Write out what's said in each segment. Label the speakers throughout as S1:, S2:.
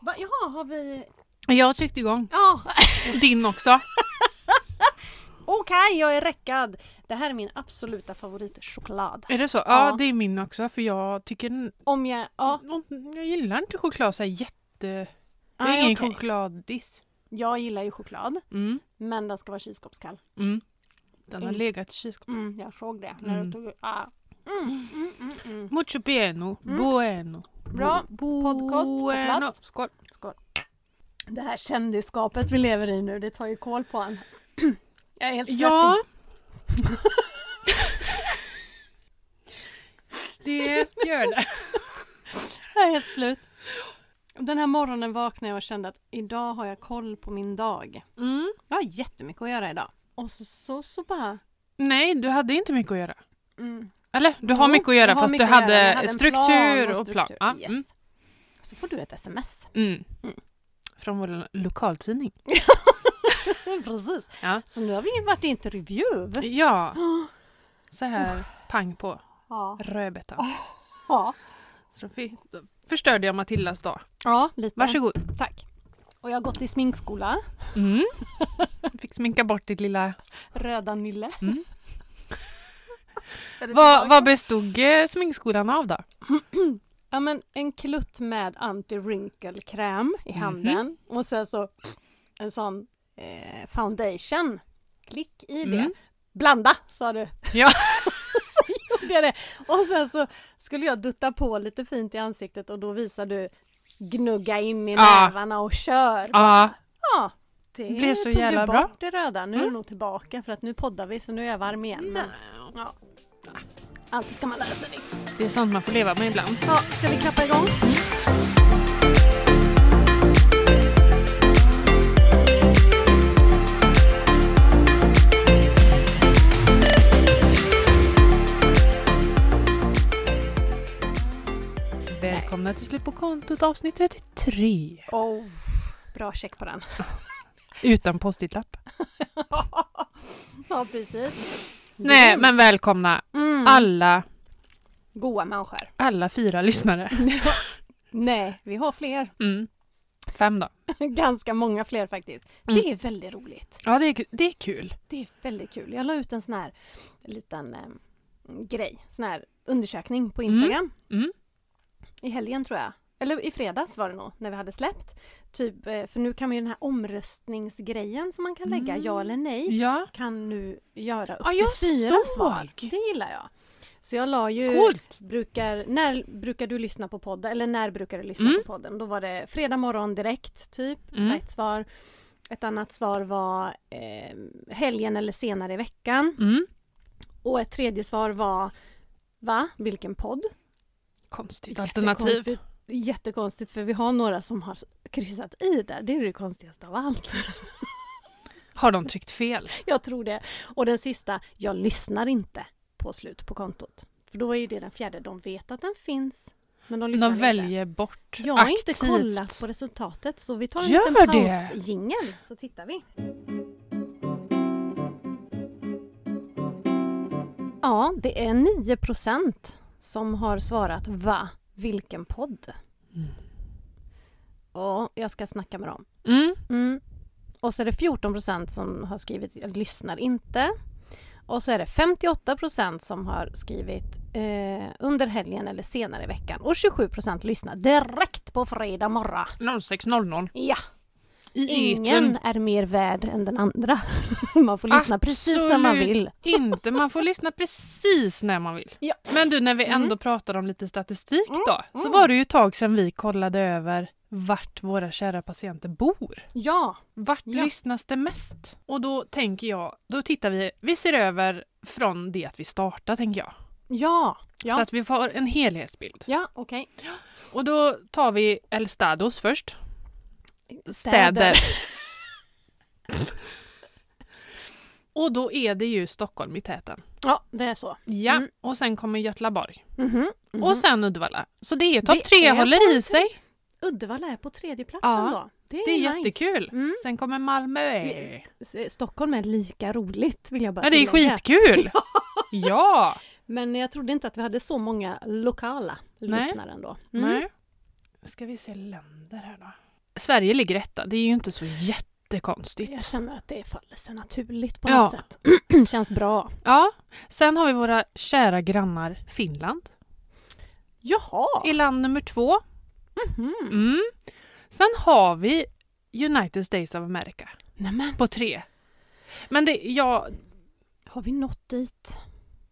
S1: Va? Jaha, har vi...
S2: Jag tryckte igång
S1: Ja,
S2: din också.
S1: okej jag är räckad! Det här är min absoluta favoritchoklad.
S2: Är det så? Ja,
S1: Ja.
S2: det är min också för jag tycker... den-
S1: Om jag... Ja,
S2: Jag gillar inte choklad så här jätte... Jag är
S1: nej,
S2: ingen
S1: okej.
S2: chokladdis.
S1: Jag gillar ju choklad,
S2: Mm.
S1: men den ska vara kylskåpskall.
S2: Mm. Den har
S1: Mm.
S2: legat i kylskåpet.
S1: Mm, jag såg det när du
S2: Mm.
S1: tog... Ah. Mm, mm, mm, mm.
S2: Mucho pieno,
S1: Mm.
S2: bueno.
S1: Bra.
S2: Bu-
S1: Podcast på
S2: bueno.
S1: plats.
S2: Skål.
S1: Det här kändisskapet vi lever i nu, det tar ju koll på en. Jag är helt svettig.
S2: Ja. det gör det.
S1: Jag är helt slut. Den här morgonen vaknade jag och kände att idag har jag koll på min dag.
S2: Mm.
S1: Jag har jättemycket att göra idag. Och så, så, så bara...
S2: Nej, du hade inte mycket att göra.
S1: Mm.
S2: Eller? Du har
S1: Jo,
S2: mycket att göra
S1: jag har
S2: fast du
S1: mycket att
S2: hade,
S1: göra. Jag en
S2: struktur
S1: plan
S2: och plan.
S1: struktur.
S2: Ja,
S1: Yes.
S2: mm.
S1: Så får du ett sms.
S2: Mm.
S1: Mm.
S2: Från vår lokaltidning.
S1: Precis.
S2: Ja.
S1: Så nu har vi varit i intervju.
S2: Ja, så här pang på
S1: Ja.
S2: rödbetan.
S1: Ja.
S2: Så då, fi- då förstörde jag Matildas dag.
S1: ja, lite.
S2: Varsågod.
S1: Tack. Och jag har gått i sminkskola.
S2: Mm. Fick sminka bort ditt lilla...
S1: Röda Nille.
S2: Mm.
S1: Är det
S2: Vad,
S1: tillbaka?
S2: vad bestod eh, sminkskolan av då?
S1: Ja men en klutt med anti-wrinkle-kräm i
S2: Mhm.
S1: handen och sen så en sån eh, foundation. Klick i det.
S2: Mm.
S1: Blanda sa du.
S2: Ja.
S1: så gjorde jag det. Och sen så skulle jag dutta på lite fint i ansiktet och då visade du gnugga in i
S2: Ja.
S1: nävarna och kör.
S2: Ah. Ja,
S1: Ja. Det
S2: Blev så
S1: tog
S2: jävla
S1: ju bort
S2: bra. Mm.
S1: det röda. Nu är det nog tillbaka för att nu poddar vi så nu är jag varm igen. Men ja. Alltid ska man lära sig det.
S2: det är sånt man får leva med ibland.
S1: Ja, ska vi klappa igång?
S2: Välkomna till Slut på kontot avsnitt 33.
S1: Oh, bra check på den.
S2: Utan post-it-lapp.
S1: ja, precis.
S2: Nej, men välkomna
S1: Mm.
S2: alla,
S1: Goa människor.
S2: alla fyra lyssnare.
S1: Nej, vi har fler.
S2: Mm. Fem då.
S1: Ganska många fler faktiskt.
S2: Mm.
S1: Det är väldigt roligt.
S2: Ja, det är, det är kul.
S1: Det är väldigt kul. Jag la ut en sån här liten eh, grej, sån här undersökning på Instagram.
S2: Mm.
S1: I helgen tror jag. Eller i fredags var det nog, när vi hade släppt. Typ, eh, för nu kan man ju den här omröstningsgrejen som man kan lägga,
S2: Mm.
S1: ja eller nej.
S2: Ja,
S1: kan nu göra upp
S2: Ja, jag
S1: till fyra Mm.
S2: såg.
S1: svar. Det gillar jag. Så jag la ju...
S2: coolt.
S1: Brukar, när brukar du lyssna på podden? Eller när brukar du lyssna
S2: Mm.
S1: på podden? Då var det fredag morgon direkt, typ.
S2: Mm.
S1: var Ett svar. Ett annat svar var eh, helgen eller senare i veckan.
S2: Mm.
S1: Och ett tredje svar var Va? Vilken podd?
S2: Konstigt alternativ.
S1: Jättekonstigt, jättekonstigt för vi har några som har kryssat i där. Det är det konstigaste av allt.
S2: Har de tryckt fel?
S1: Jag tror det. Och den sista, jag lyssnar inte på slut på kontot. För då är ju det den fjärde, de vet att den finns. Men de lyssnar
S2: De
S1: inte.
S2: väljer bort
S1: Jag har
S2: aktivt.
S1: inte kollat på resultatet så vi tar en
S2: Gör
S1: liten
S2: det.
S1: pausjingel så tittar vi. Ja, det är 9 som har svarat va, vilken podd?
S2: Mm.
S1: Ja, jag ska snacka med dem.
S2: Mm.
S1: Mm. Och så är det 14 procent som har skrivit jag lyssnar inte. Och så är det 58 procent som har skrivit eh, under helgen eller senare i veckan. Och 27 procent lyssnar direkt på fredag morgon.
S2: 06.00
S1: Ja,
S2: i
S1: ingen
S2: eten.
S1: är mer värd än den andra. man får lyssna precis när man
S2: Absolut.
S1: vill.
S2: Inte, man får lyssna precis när man vill.
S1: Ja. Mm.
S2: Men du, när vi ändå pratar om lite statistik då, så var det ju ett tag sedan vi kollade över vart våra kära patienter bor.
S1: Ja,
S2: Vart
S1: Ja.
S2: lyssnas det mest? Och då tänker jag, då tittar vi, vi ser över från det att vi startar tänker jag.
S1: ja, ja,
S2: Så att vi får en helhetsbild.
S1: ja, okej.
S2: Och då tar vi El Stados först. Och då är det ju Stockholm i täten.
S1: Ja, det är så.
S2: Ja,
S1: Mm.
S2: och sen kommer Göteborg.
S1: Mhm, mhm.
S2: Och sen Uddevalla. Så det är topp
S1: Det
S2: tre
S1: är
S2: håller i sig.
S1: Uddevalla är på tredje platsen
S2: Ja,
S1: då. Det är,
S2: Det är
S1: nice.
S2: jättekul.
S1: Mm.
S2: Sen kommer Malmö.
S1: Yes. S- eh, Stockholm är lika roligt vill jag bara
S2: Ja, det är
S1: tillägga.
S2: skitkul! ja!
S1: Men jag trodde inte att vi hade så många lokala
S2: Nej.
S1: lyssnare ändå. Mm.
S2: Nej. Ska vi se länder här då. Sverige ligger etta, det är ju inte så jättekonstigt.
S1: Jag känner att det faller sig naturligt på
S2: Ja.
S1: något sätt. Känns bra.
S2: Ja, sen har vi våra kära grannar Finland
S1: Jaha!
S2: i land nummer två.
S1: Mhm.
S2: Mm. Sen har vi United States of America
S1: Nämen,
S2: på tre. Men det, jag,
S1: har vi nått dit?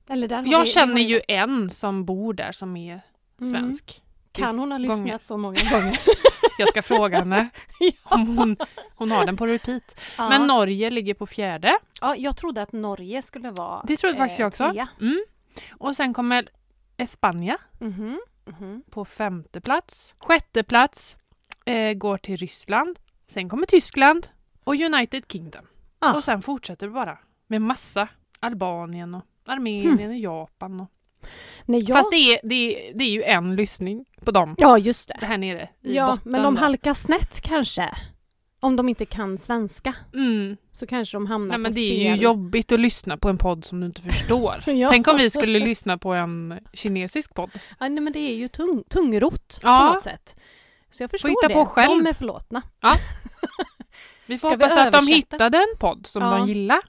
S1: Eller där har vi-
S2: jag
S1: det
S2: känner
S1: har
S2: ju en som bor där som är
S1: Mm.
S2: svensk.
S1: Kan hon ha lyssnat
S2: gånger.
S1: så många gånger?
S2: Jag ska fråga henne om hon, hon har den på repeat.
S1: ja.
S2: Men Norge ligger på fjärde.
S1: ja, jag trodde att Norge skulle vara eh,
S2: Det trodde faktiskt jag också.
S1: trea.
S2: Mm. Och sen kommer Spanien
S1: Mhm, mhm.
S2: på femte plats. Sjätte plats eh, går till Ryssland. Sen kommer Tyskland och United Kingdom.
S1: Ah.
S2: Och sen fortsätter det bara med massa Albanien och Armenien
S1: Hmm.
S2: och Japan. Och...
S1: Nej, jag...
S2: Fast det är, det, är, det är ju en lyssning på dem
S1: Ja, just det.
S2: här nere i
S1: Ja,
S2: botten.
S1: men de
S2: där.
S1: halkar snett kanske. Om de inte kan svenska
S2: mm.
S1: så kanske de hamnar
S2: Nej, men
S1: på
S2: Det
S1: fel...
S2: är ju jobbigt att lyssna på en podd som du inte förstår.
S1: Ja.
S2: Tänk om vi skulle lyssna på en kinesisk podd.
S1: Ja, nej, men det är ju tung, tungrot
S2: Ja.
S1: på något sätt. Så jag förstår
S2: hitta
S1: det.
S2: på själv.
S1: De är förlåtna.
S2: Vi får
S1: Ska vi
S2: hoppas att de
S1: översätta?
S2: hittade en podd som
S1: Ja.
S2: de gillar.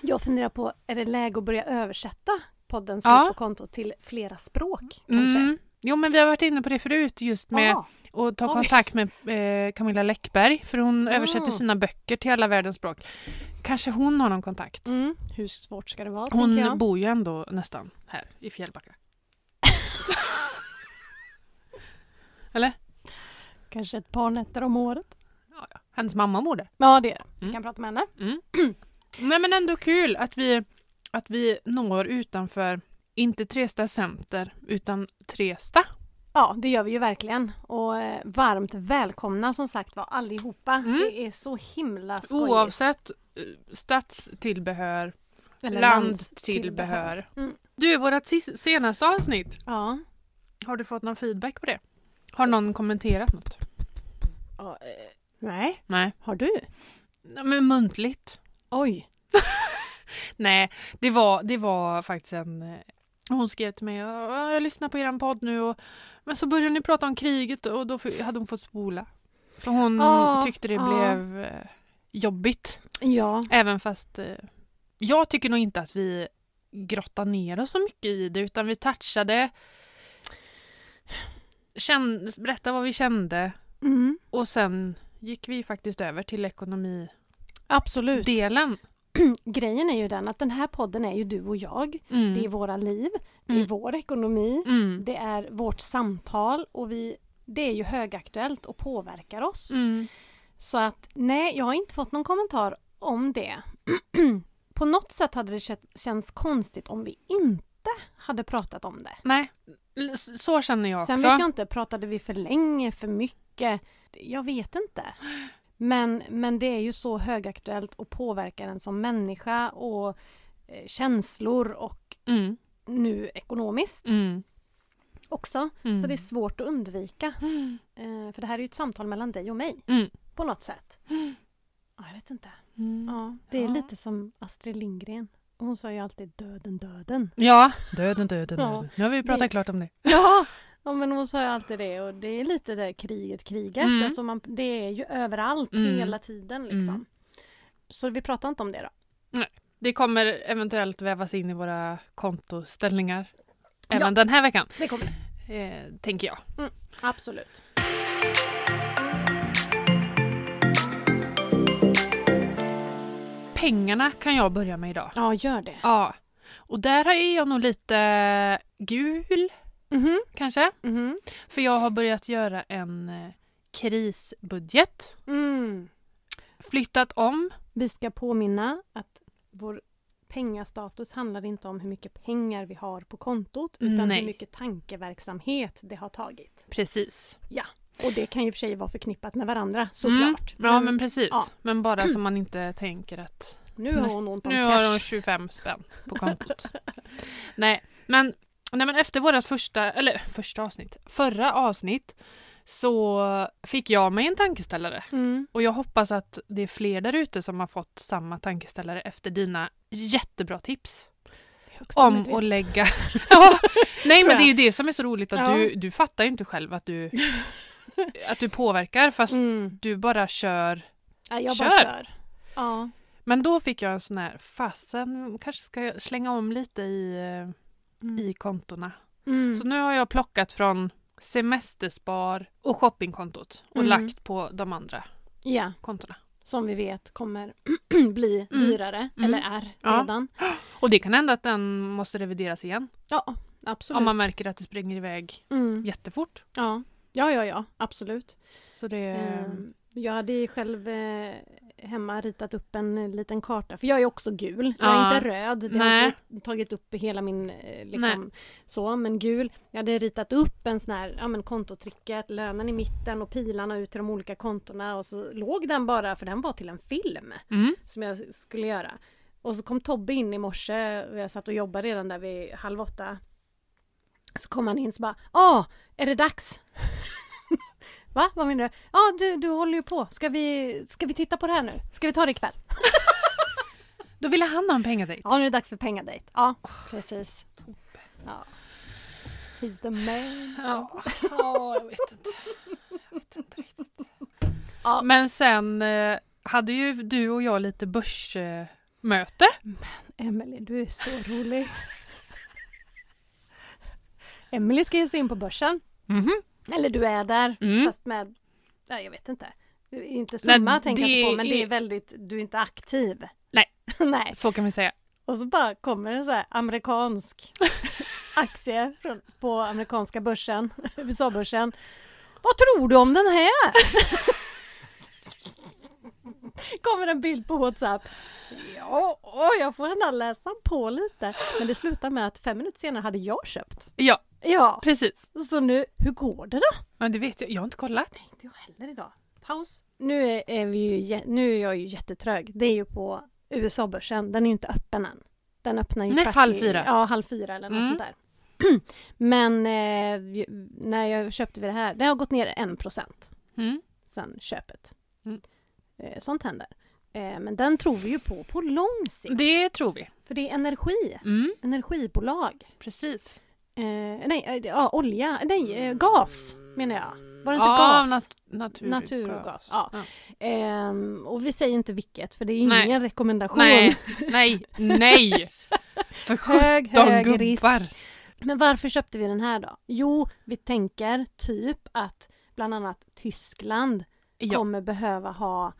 S1: Jag funderar på, är det läge att börja översätta poddens
S2: Ja.
S1: ja. på konto till flera språk kanske? Ah.
S2: Mm. Jo, men vi har varit inne på det förut just med
S1: Ja.
S2: och ta
S1: Oj.
S2: kontakt med eh, Camilla Läckberg för hon
S1: Mm.
S2: översätter sina böcker till alla världens språk. Kanske hon har någon kontakt.
S1: Mm. Hur svårt ska det vara? tänker
S2: Hon
S1: jag.
S2: bor ju ändå nästan här i Fjällbacka.
S1: Kanske ett par nätter om året.
S2: Hennes mamma bor där.
S1: Ja, det är det. Vi
S2: Mm.
S1: kan prata med henne.
S2: Nej men ändå kul att vi, att vi når utanför, inte Tresta center, utan Tresta.
S1: Ja, det gör vi ju verkligen. Och eh, varmt välkomna som sagt var allihopa.
S2: Mm.
S1: Det är så himla skojigt.
S2: Oavsett eh, stadstillbehör,
S1: Eller landstillbehör.
S2: landstillbehör.
S1: Mm.
S2: Du, vårt sis- senaste avsnitt,
S1: Ja.
S2: har du fått någon feedback på det? Har någon kommenterat något?
S1: Ja, eh, Nej,
S2: Nej.
S1: har du?
S2: Nej, Men muntligt.
S1: Oj.
S2: Nej, det var, det var faktiskt en... eh, Hon skrev till mig, "Ja, jag lyssnar på er podd nu och... Men så började ni prata om kriget och då f- hade hon fått spola. För hon
S1: Ja,
S2: tyckte det
S1: ja.
S2: blev eh, jobbigt.
S1: Ja.
S2: Även fast... Eh, jag tycker nog inte att vi grottar ner oss så mycket i det utan vi touchade... Kände, berättade vad vi kände
S1: Mm.
S2: och sen gick vi faktiskt över till ekonomidelen. Mm.
S1: Absolut. Grejen är ju den att den här podden är ju du och jag.
S2: Mm.
S1: Det är våra liv, det är
S2: Mm.
S1: vår ekonomi,
S2: Mm.
S1: det är vårt samtal och vi, det är ju högaktuellt och påverkar oss.
S2: Mm.
S1: Så att nej, jag har inte fått någon kommentar om det. På något sätt hade det kä- känts konstigt om vi inte hade pratat om det.
S2: Nej, l- s- så känner jag också.
S1: Sen vet jag inte, pratade vi för länge, för mycket? Jag vet inte. Men, men det är ju så högaktuellt och påverkar en som människa och eh, känslor och
S2: Mm.
S1: nu ekonomiskt
S2: Mm.
S1: också.
S2: Mm.
S1: Så det är svårt att undvika.
S2: Mm.
S1: Eh, för det här är ju ett samtal mellan dig och mig.
S2: Mm.
S1: På något sätt. Ja, jag vet inte.
S2: Mm.
S1: Ja, det är
S2: Ja.
S1: lite som Astrid Lindgren. Hon sa ju alltid döden, döden.
S2: Ja. Döden, döden,
S1: Ja.
S2: döden. Nu har vi pratat
S1: Det-
S2: klart om det.
S1: Ja, ja men hon sa ju alltid det. Och det är lite det kriget, kriget.
S2: Mm.
S1: Alltså man, det är ju överallt
S2: Mm.
S1: hela tiden liksom.
S2: Mm.
S1: Så vi pratar inte om det då.
S2: Det kommer eventuellt vävas in i våra kontoställningar. Även
S1: Ja.
S2: den här veckan,
S1: Det kommer
S2: eh, tänker jag.
S1: Absolut.
S2: Pengarna kan jag börja med idag.
S1: Ja, gör det.
S2: Ja. Och där är jag nog lite gul,
S1: Mhm,
S2: kanske.
S1: mhm.
S2: För jag har börjat göra en eh, krisbudget.
S1: Mm.
S2: Flyttat om.
S1: Vi ska påminna att vår pengastatus handlar inte om hur mycket pengar vi har på kontot utan
S2: Nej.
S1: hur mycket tankeverksamhet det har tagit.
S2: Precis.
S1: Och det kan ju för sig vara förknippat med varandra
S2: Mm.
S1: såklart.
S2: Ja, men precis.
S1: ja.
S2: Men bara så man inte tänker att
S1: Nu har hon ont om
S2: nu
S1: cash.
S2: har hon 25 spänn på kontot. nej, men, nej, men efter vårt första, eller första avsnitt, förra avsnitt så fick jag mig en tankeställare.
S1: Mm.
S2: Och jag hoppas att det är fler där ute som har fått samma tankeställare efter dina jättebra tips. Om att lägga... ja, nej, men det är ju det som är så roligt att
S1: Ja.
S2: du, du fattar ju inte själv att du att du påverkar fast
S1: Mm.
S2: du bara kör.
S1: Ja, jag
S2: Kör!
S1: bara kör. Ja.
S2: Men då fick jag en sån här, fasen kanske ska jag slänga om lite i, eh, i kontona.
S1: Mm.
S2: Så nu har jag plockat från semesterspar och shoppingkontot och
S1: Mm.
S2: lagt på de andra
S1: ja,
S2: kontona.
S1: som vi vet kommer bli
S2: Mm.
S1: dyrare,
S2: Mm.
S1: eller är
S2: Ja.
S1: redan.
S2: Och det kan hända att den måste revideras igen
S1: Ja, absolut.
S2: om man märker att det springer iväg
S1: mm.
S2: jättefort.
S1: ja. ja, ja, ja, absolut.
S2: Så det...
S1: Ehm, Jag hade ju själv eh, hemma ritat upp en eh, liten karta, för jag är också gul. Jag är
S2: Ja.
S1: inte röd, det har
S2: Nej.
S1: inte tagit upp hela min eh, liksom, så, men gul. Jag hade ritat upp en sån här, ja men kontotricket, lönen i mitten och pilarna ut till de olika kontona och så låg den bara, för den var till en film
S2: Mm.
S1: som jag skulle göra. Och så kom Tobbe in i morse, och jag satt och jobbade redan där vid halv åtta. Så kom han in så bara, ah, är det dags? Va? Vad menar du? Ja, du, du håller ju på. Ska vi, ska vi titta på det här nu? Ska vi ta det ikväll?
S2: Då ville han ha en pengadejt.
S1: Ja, nu är det dags för pengadejt. Ja, precis. Ja. He's the man.
S2: Ja. ja, jag vet inte. Jag vet inte riktigt.
S1: Ja.
S2: Men sen eh, hade ju du och jag lite börsmöte.
S1: Emelie, du är så rolig. Emelie ska ge sig in på börsen.
S2: Mhm.
S1: Eller du är där.
S2: Mm.
S1: Fast med, nej jag vet inte. Inte
S2: Nej,
S1: summa tänker jag inte
S2: det
S1: på men det är
S2: är-
S1: väldigt, du är inte aktiv.
S2: Nej.
S1: nej.
S2: Så kan vi säga.
S1: Och så bara kommer en så här amerikansk aktie från, på amerikanska börsen, USA-börsen. Vad tror du om den här? kommer en bild på Whatsapp. Ja, åh, jag får ändå läsa på lite. Men det slutar med att fem minuter senare hade jag köpt.
S2: Ja,
S1: Ja,
S2: precis.
S1: så nu, hur går det
S2: Men det vet jag. Jag har inte kollat.
S1: inte jag heller idag. Paus. Nu är, är, vi ju, jä- nu är jag ju jättetrög. Det är ju på USA-börsen. Den är ju inte öppen än. Den öppnar ju
S2: Nej,
S1: kvart
S2: halv
S1: i-
S2: fyra.
S1: Ja, halv fyra eller något
S2: Mm.
S1: sånt där. Men eh, ju- när jag köpte vid det här, det har gått ner 1 procent
S2: Mm.
S1: sedan köpet.
S2: Mm.
S1: Eh, sånt händer. Eh, men den tror vi ju på på lång sikt.
S2: Det tror vi.
S1: För det är energi,
S2: Mm.
S1: energibolag.
S2: Precis.
S1: Eh, nej, eh, ja, olja, nej, eh, gas menar jag. Var det inte
S2: ja, alltså,
S1: gas?
S2: nat- naturgas.
S1: Naturgas, ja.
S2: Ja.
S1: Ehm, och vi säger inte vilket för det är
S2: Nej.
S1: ingen rekommendation.
S2: Nej, nej, nej! För
S1: Hög,
S2: 17
S1: hög risk.
S2: gubbar.
S1: Men varför köpte vi den här då? Jo, vi tänker typ att bland annat Tyskland
S2: Ja.
S1: kommer behöva ha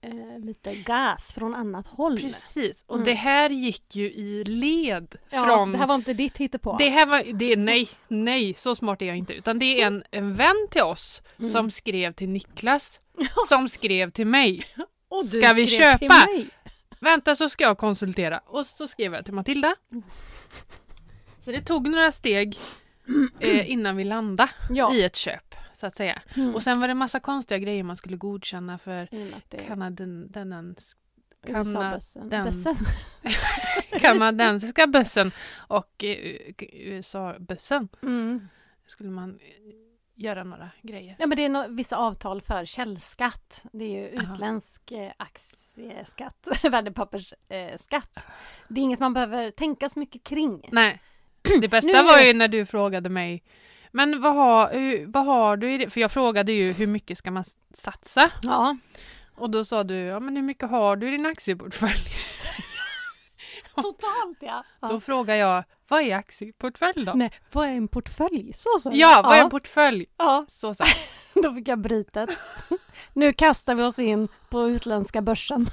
S1: eh, lite gas från annat håll.
S2: Precis, och
S1: Mm.
S2: det här gick ju i led
S1: Ja,
S2: från...
S1: Det här var inte ditt hittepå.
S2: det här var, det är, nej, nej, så smart är jag inte. Utan det är en, en vän till oss
S1: Mm.
S2: som skrev till Niklas, som skrev till mig.
S1: och du
S2: ska vi
S1: skrev till
S2: köpa?
S1: mig.
S2: Vänta så ska jag konsultera. Och så skrev jag till Matilda. Så det tog några steg eh, innan vi landade
S1: Ja.
S2: i ett köp, så att säga.
S1: Mm.
S2: Och sen var det massa konstiga grejer man skulle godkänna för
S1: I och med att det är
S2: kanadens...
S1: USA-bössen.
S2: den-
S1: Bössen.
S2: kanadensiska bössen och eh, USA-bössen
S1: Mm.
S2: skulle man eh, göra några grejer.
S1: Ja, men det är nå- vissa avtal för källskatt. Det är ju
S2: Aha.
S1: utländsk eh, aktieskatt, värdepappersskatt. Det är inget man behöver tänka så mycket kring.
S2: Nej, det
S1: Nu
S2: bästa
S1: är
S2: var
S1: det-
S2: ju när du frågade mig men vad har, hur, vad har du i det? För jag frågade ju hur mycket ska man satsa?
S1: Ja.
S2: Och då sa du, ja men hur mycket har du i din aktieportfölj?
S1: Totalt ja.
S2: Då frågar jag, vad är aktieportfölj då?
S1: Nej, vad är en portfölj? Så sa
S2: Ja, vad är en
S1: ja.
S2: portfölj?
S1: ja,
S2: Så sa jag.
S1: då fick jag brytet. nu kastar vi oss in på utländska börsen.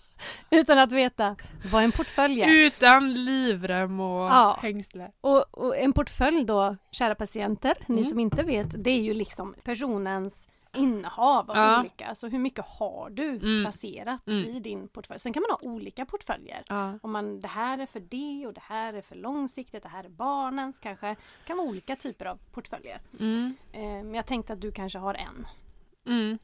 S1: Utan att veta vad en portfölj är.
S2: Utan livrem och
S1: Ja.
S2: hängsle.
S1: Och, och en portfölj då, kära patienter, ni
S2: Mm.
S1: som inte vet, det är ju liksom personens innehav av
S2: Ja.
S1: olika, alltså hur mycket har du
S2: Mm.
S1: placerat
S2: Mm.
S1: i din portfölj? Sen kan man ha olika portföljer.
S2: Ja.
S1: Om man, det här är för det och det här är för långsiktigt, det här är barnens kanske. Det kan vara olika typer av portföljer.
S2: Mm.
S1: Eh, Men jag tänkte att du kanske har en.
S2: Mm.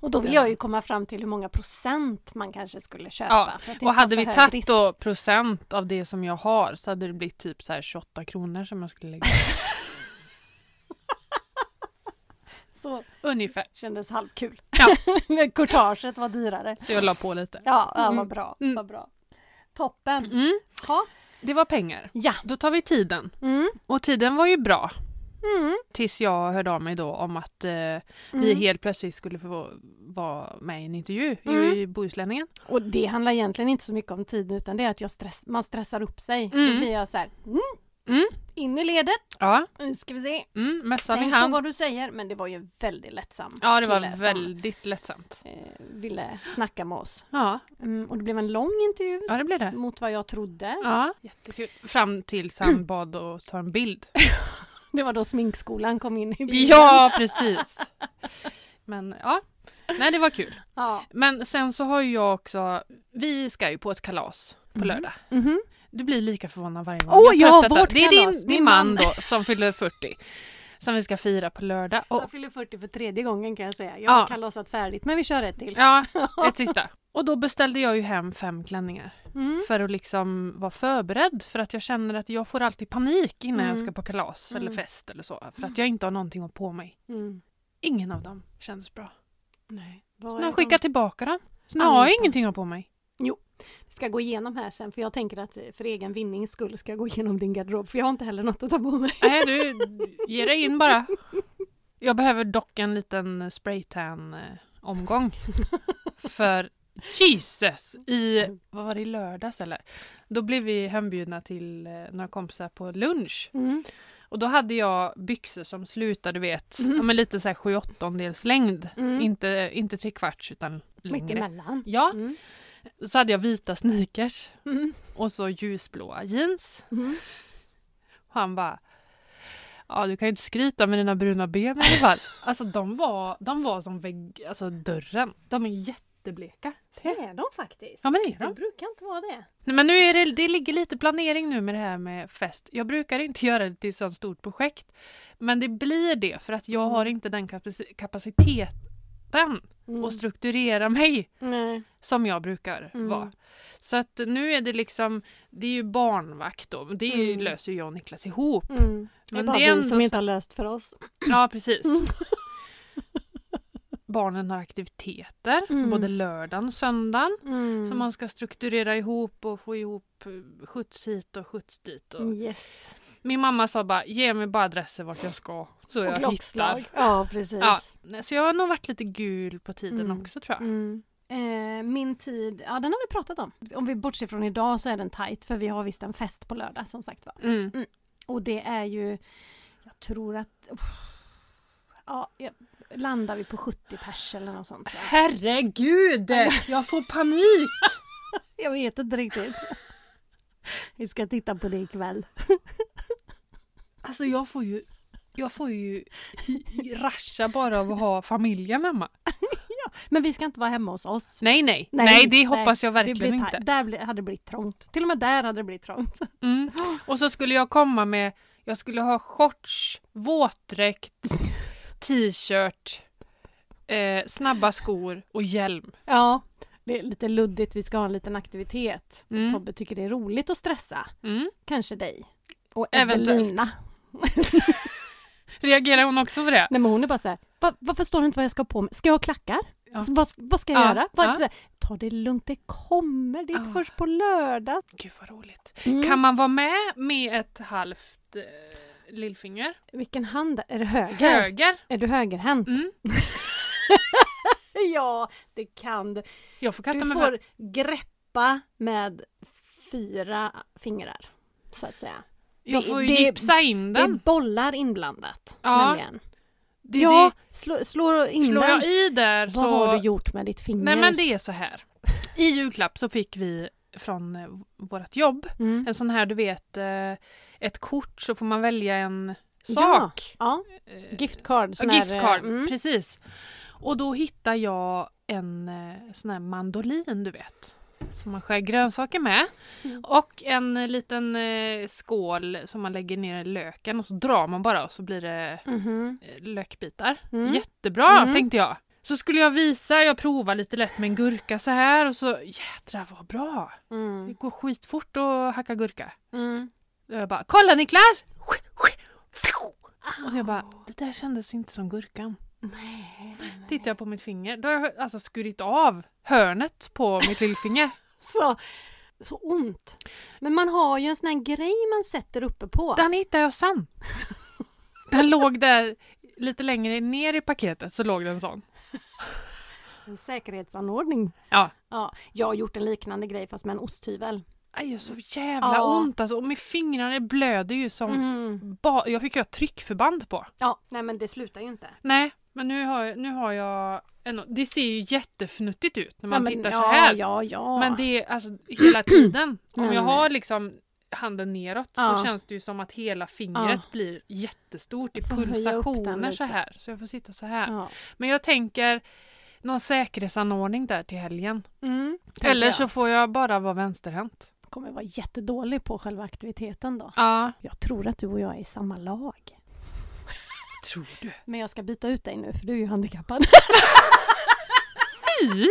S1: Och då vill
S2: Ja.
S1: jag ju komma fram till hur många procent man kanske skulle köpa.
S2: Ja,
S1: för att inte
S2: Och hade
S1: ha
S2: vi
S1: för hög risk.
S2: tagit då procent av det som jag har så hade det blivit typ så här 28 kronor som jag skulle lägga.
S1: Så
S2: Ungefär.
S1: kändes halvkul.
S2: Ja.
S1: Courtaget var dyrare.
S2: Så jag la på lite.
S1: Ja, ja
S2: Mm.
S1: vad bra.
S2: Mm.
S1: Vad bra. Toppen.
S2: Mm,
S1: Ha.
S2: det var pengar.
S1: Ja.
S2: Då tar vi tiden.
S1: Mm.
S2: Och tiden var ju bra.
S1: Mm.
S2: Tills jag hörde av mig då om att eh, vi
S1: Mm.
S2: helt plötsligt skulle få vara med i en intervju
S1: Mm.
S2: i, i Bohuslänningen.
S1: Och det handlar egentligen inte så mycket om tiden utan det är att jag stress, man stressar upp sig. Då
S2: Mm.
S1: blir jag så här, mm,
S2: Mm.
S1: in i ledet,
S2: Ja,
S1: nu ska vi se.
S2: mm, mössan i
S1: Tänk på
S2: hand.
S1: vad du säger. Men det var ju en väldigt lättsam
S2: Ja, det var
S1: kille alltså.
S2: väldigt lättsamt.
S1: som eh, ville snacka med oss.
S2: Ja,
S1: Mm, och det blev en lång intervju
S2: ja det blev det.
S1: mot vad jag trodde.
S2: Ja, jättekul. Fram tills han bad att ta en bild.
S1: Det var då sminkskolan kom in i bilden.
S2: Ja, precis. Men ja, nej det var kul.
S1: ja.
S2: Men sen så har ju jag också, vi ska ju på ett kalas på
S1: Mhm.
S2: lördag.
S1: Mhm.
S2: Du blir lika förvånad varje gång.
S1: Åh,
S2: jag tar
S1: ja,
S2: upp detta.
S1: vårt
S2: Det är
S1: kalas,
S2: din,
S1: min
S2: din man då som fyller 40. Som vi ska fira på lördag. Och,
S1: Jag fyller 40 för tredje gången kan jag säga. Jag
S2: Ja.
S1: har kalasat färdigt men vi kör ett till.
S2: ja, ett sista. Och då beställde jag ju hem fem klänningar.
S1: Mm.
S2: För att liksom vara förberedd. För att jag känner att jag får alltid panik innan jag
S1: Mm.
S2: ska på kalas eller
S1: Mm.
S2: fest eller så. För att jag inte har någonting att på mig.
S1: Mm.
S2: Ingen av dem kändes bra.
S1: Nej. Vad
S2: Någon
S1: är
S2: skickar
S1: de-
S2: tillbaka den. Så nu har jag
S1: Allihopa.
S2: ingenting att ha på mig.
S1: Vi ska gå igenom här sen för jag tänker att för egen vinnings skull ska jag gå igenom din garderob för jag har inte heller något att ta på mig.
S2: Nej, du ger dig in bara. Jag behöver dock en liten spraytan-omgång. För Jesus! I, vad var det, i lördags eller? Då blev vi hembjudna till eh, några kompisar på lunch.
S1: Mm.
S2: Och då hade jag byxor som slutade, du vet,
S1: Mm.
S2: ja, men lite så här sju åttondels längd.
S1: Mm.
S2: Inte, inte tre kvarts utan
S1: Mitt
S2: längre.
S1: emellan.
S2: Ja,
S1: Mm.
S2: så hade jag vita sneakers
S1: Mm.
S2: och så ljusblåa jeans.
S1: Mm.
S2: Och han bara Ja, du kan ju inte skryta med dina bruna ben i alla fall. Alltså de var, de var som vägg, alltså dörren. De är jättebleka.
S1: Det
S2: Se.
S1: är de faktiskt.
S2: Ja men det är
S1: Det
S2: de.
S1: brukar inte vara det.
S2: Nej, men nu är det, det ligger lite planering nu med det här med fest. Jag brukar inte göra det till ett sånt stort projekt. Men det blir det för att jag har inte den kapaci- kapaciteten
S1: Mm.
S2: att strukturera mig
S1: Nej.
S2: som jag brukar
S1: Mm.
S2: vara. Så att nu är det liksom, det är ju barnvakt då. men Det är ju,
S1: Mm.
S2: löser ju jag och Niklas ihop.
S1: Mm. Det är
S2: Men
S1: bara
S2: det är
S1: vi
S2: ändå
S1: som
S2: så-
S1: inte har löst för oss.
S2: Ja, precis. Barnen har aktiviteter
S1: Mm.
S2: både lördagen och söndagen
S1: Mm.
S2: som man ska strukturera ihop och få ihop eh, skjuts hit och skjuts dit. Och...
S1: Mm, Yes.
S2: Min mamma sa bara ge mig bara adresser vart jag ska så
S1: Och
S2: jag hittar.
S1: klockslag. Ja precis.
S2: Ja, nej, så jag har nog varit lite gul på tiden
S1: Mm.
S2: också tror jag.
S1: Mm. Eh, min tid, ja den har vi pratat om. Om vi bortser från idag så är den tajt för vi har visst en fest på lördag som sagt var.
S2: Mm.
S1: Och det är ju, jag tror att, ja, jag, landar vi på 70 pers eller något sånt. tror jag.
S2: Herregud! Jag får panik!
S1: Jag vet inte riktigt. Vi ska titta på det ikväll.
S2: Alltså jag får ju, jag får ju rascha bara av att ha familjen hemma.
S1: Men vi ska inte vara hemma hos oss.
S2: Nej, nej.
S1: Nej,
S2: Nej,
S1: nej.
S2: det hoppas jag
S1: det
S2: verkligen
S1: blir
S2: inte.
S1: ta- där blir, hade det blivit trångt. Till och med där hade det blivit trångt.
S2: Mm. Och så skulle jag komma med, jag skulle ha shorts, våtdräkt, t-shirt, eh, snabba skor och hjälm.
S1: Ja, det är lite luddigt. Vi ska ha en liten aktivitet.
S2: Mm.
S1: Tobbe tycker det är roligt att stressa.
S2: Mm.
S1: Kanske dig. Och
S2: Eventuellt.
S1: Evelina.
S2: Reagerar hon också på det?
S1: Nej men hon är bara så här, "Va- vad förstår du inte vad jag ska ha på mig? Ska jag ha klackar?
S2: Ja.
S1: Så Vad, vad ska jag
S2: Ja,
S1: göra? Vad,
S2: ja. Ah.
S1: så här, Ta det lugnt, det kommer. Det är
S2: Ja.
S1: först på lördag.
S2: Gud vad roligt.
S1: Mm.
S2: Kan man vara med med ett halvt eh, lillfinger?
S1: Vilken hand? Är det höger?
S2: Höger?
S1: Är du högerhänt?
S2: Mm.
S1: Ja, det kan du.
S2: Jag får Mm. kasta
S1: Du
S2: mig
S1: får greppa med fyra fingrar. Så att säga.
S2: Jag
S1: det-
S2: får ju
S1: det-
S2: gipsa in
S1: Det är
S2: den.
S1: bollar inblandat.
S2: Ja,
S1: nämligen.
S2: Det,
S1: ja slå, slå
S2: det,
S1: in
S2: slår
S1: den.
S2: jag i där
S1: Vad
S2: så...
S1: har du gjort med ditt finger?
S2: Nej men det är så här. I julklapp så fick vi från eh, vårt jobb
S1: Mm.
S2: En sån här, du vet, eh, ett kort så får man välja en
S1: Ja.
S2: sak.
S1: Ja,
S2: Eh,
S1: giftcard. sån
S2: ja,
S1: här,
S2: giftcard,
S1: eh, mm.
S2: precis. Och då hittar jag en eh, sån här mandolin, du vet. Som man skär grönsaker med.
S1: Mm.
S2: Och en eh, liten eh, skål som man lägger ner i löken och så drar man bara och så blir det
S1: Mhm.
S2: eh, lökbitar.
S1: Mm.
S2: Jättebra
S1: Mm.
S2: tänkte jag. Så skulle jag visa, jag provar lite lätt med en gurka så här och så jädrar vad bra. Det
S1: Mm.
S2: går skitfort att hacka gurka.
S1: Mm.
S2: Och jag bara “Kolla Niklas!” Och jag bara “Det där kändes inte som gurkan”.
S1: Nej.
S2: Tittar jag på mitt finger, då har jag alltså skurit av hörnet på mitt lillfinger.
S1: Så, så ont. Men man har ju en sån här grej man sätter uppe på.
S2: Den hittar jag sen. Den låg där lite längre ner i paketet så låg det en sån.
S1: En säkerhetsanordning.
S2: Ja.
S1: ja. Jag har gjort en liknande grej fast med en osthyvel.
S2: Aj, det gör så jävla
S1: Ja.
S2: ont alltså. Och med fingrarna blöder ju som...
S1: Mm.
S2: Ba- jag fick ju ha tryckförband på.
S1: Ja, nej men det slutar ju inte.
S2: Nej, men nu har, jag- nu har jag... En, det ser ju jättefnuttigt ut när man
S1: ja, men,
S2: tittar
S1: ja,
S2: så här.
S1: Ja, ja.
S2: Men det är alltså hela tiden. Om
S1: Men-
S2: jag har liksom handen neråt
S1: Ja.
S2: så känns det ju som att hela fingret blir jättestort i
S1: får höja upp den
S2: pulsationer så
S1: lite.
S2: här. Så jag får sitta så här.
S1: ja.
S2: Men jag tänker någon säkerhetsanordning där till helgen.
S1: Mm, tänker
S2: Eller
S1: jag.
S2: så får jag bara vara vänsterhänt.
S1: kommer jag vara jättedålig på själva aktiviteten då.
S2: Ja.
S1: Jag tror att du och jag är i samma lag.
S2: Tror du?
S1: Men jag ska byta ut dig nu för du är ju handikappad.
S2: Fy!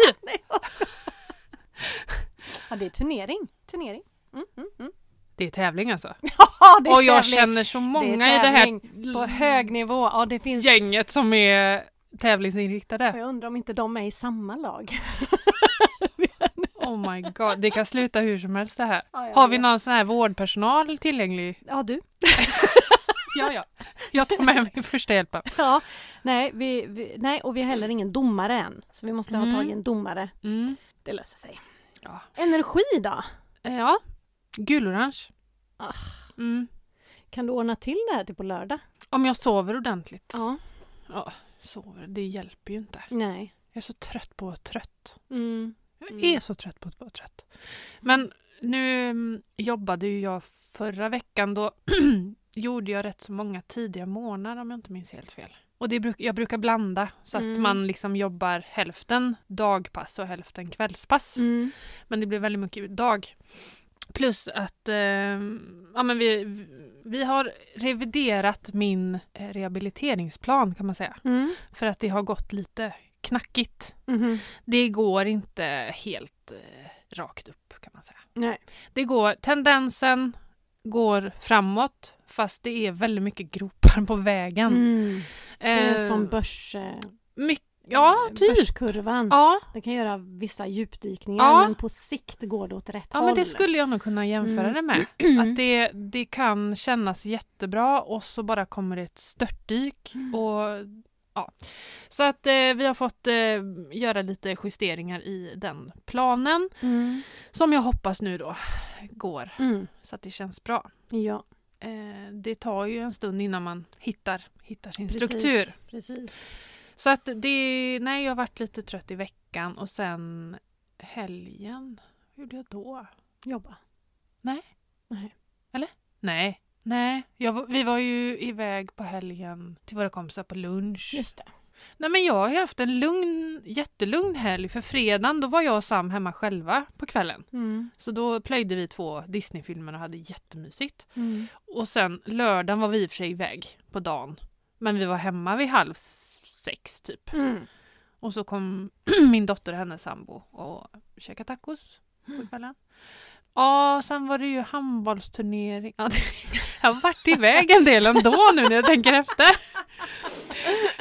S1: Ja, det är turnering. Turnering. Mm, mm, mm.
S2: Det är tävling alltså.
S1: Ja, det är
S2: Och jag
S1: tävling.
S2: känner så många
S1: det är
S2: i det här
S1: tävling På hög nivå. Ja, det finns...
S2: gänget som är tävlingsinriktade.
S1: Jag undrar om inte de är i samma lag.
S2: Oh my god, det kan sluta hur som helst det här.
S1: Ja, jag
S2: Har vi
S1: vet.
S2: någon sån här vårdpersonal tillgänglig?
S1: Ja, du.
S2: Ja, ja. Jag tar med mig första hjälpen.
S1: Ja. Nej, vi, vi, nej, och vi har heller ingen domare än. Så vi måste ha
S2: Mm.
S1: tag i en domare.
S2: Mm.
S1: Det löser sig.
S2: Ja.
S1: Energi då?
S2: Eh, Ja, gulorange.
S1: Ah.
S2: Mm.
S1: Kan du ordna till det här till på lördag?
S2: Om jag sover ordentligt.
S1: Ja.
S2: Sover, det hjälper ju inte.
S1: Nej.
S2: Jag är så trött på att vara trött.
S1: Mm.
S2: Jag
S1: Mm.
S2: är så trött på att vara trött. Men nu mm, jobbade ju jag förra veckan. Då gjorde jag rätt så många tidiga morgnar om jag inte minns helt fel. Och det bruk- jag brukar blanda så att
S1: Mm.
S2: man liksom jobbar hälften dagpass och hälften kvällspass.
S1: Mm.
S2: Men det blev väldigt mycket dag. Plus att eh, ja, men vi, vi har reviderat min eh, rehabiliteringsplan kan man säga.
S1: Mm.
S2: För att det har gått lite knackigt.
S1: Mhm.
S2: Det går inte helt eh, rakt upp kan man säga.
S1: Nej.
S2: Det går, tendensen går framåt fast det är väldigt mycket gropar på vägen.
S1: Mm. Det är
S2: Eh,
S1: som börs, eh,
S2: myck- ja, typ.
S1: börskurvan.
S2: Ja,
S1: Den kan göra vissa djupdykningar
S2: Ja.
S1: men på sikt går det åt rätt
S2: Ja,
S1: håll.
S2: men det skulle jag nog kunna jämföra
S1: Mm.
S2: det med. Att det, det kan kännas jättebra och så bara kommer det ett störtdyk.
S1: Mm.
S2: Och, ja. Så att eh, vi har fått eh, göra lite justeringar i den planen
S1: Mm.
S2: som jag hoppas nu då går
S1: Mm.
S2: så att det känns bra.
S1: Ja,
S2: Eh, det tar ju en stund innan man hittar, hittar sin
S1: precis.
S2: struktur.
S1: Precis.
S2: Så att det, nej, jag har varit lite trött i veckan och sen helgen, hur gjorde jag då?
S1: Jobba.
S2: Nej. Nej, jag, var- vi var ju iväg på helgen till våra kompisar på lunch.
S1: Just det.
S2: Nej men jag har ju haft en lugn, jättelugn helg för fredagen då var jag och Sam hemma själva på kvällen.
S1: Mm.
S2: Så då plöjde vi två Disney-filmer och hade jättemysigt.
S1: Mm.
S2: Och sen lördagen var vi i och för sig iväg på dagen. Men vi var hemma vid halv sex typ.
S1: Mm.
S2: Och så kom min dotter och hennes sambo och käkade tacos
S1: Mm.
S2: på kvällen. Ja, sen var det ju handbollsturnering. Ja, det- Jag har varit iväg en del ändå nu när jag tänker efter.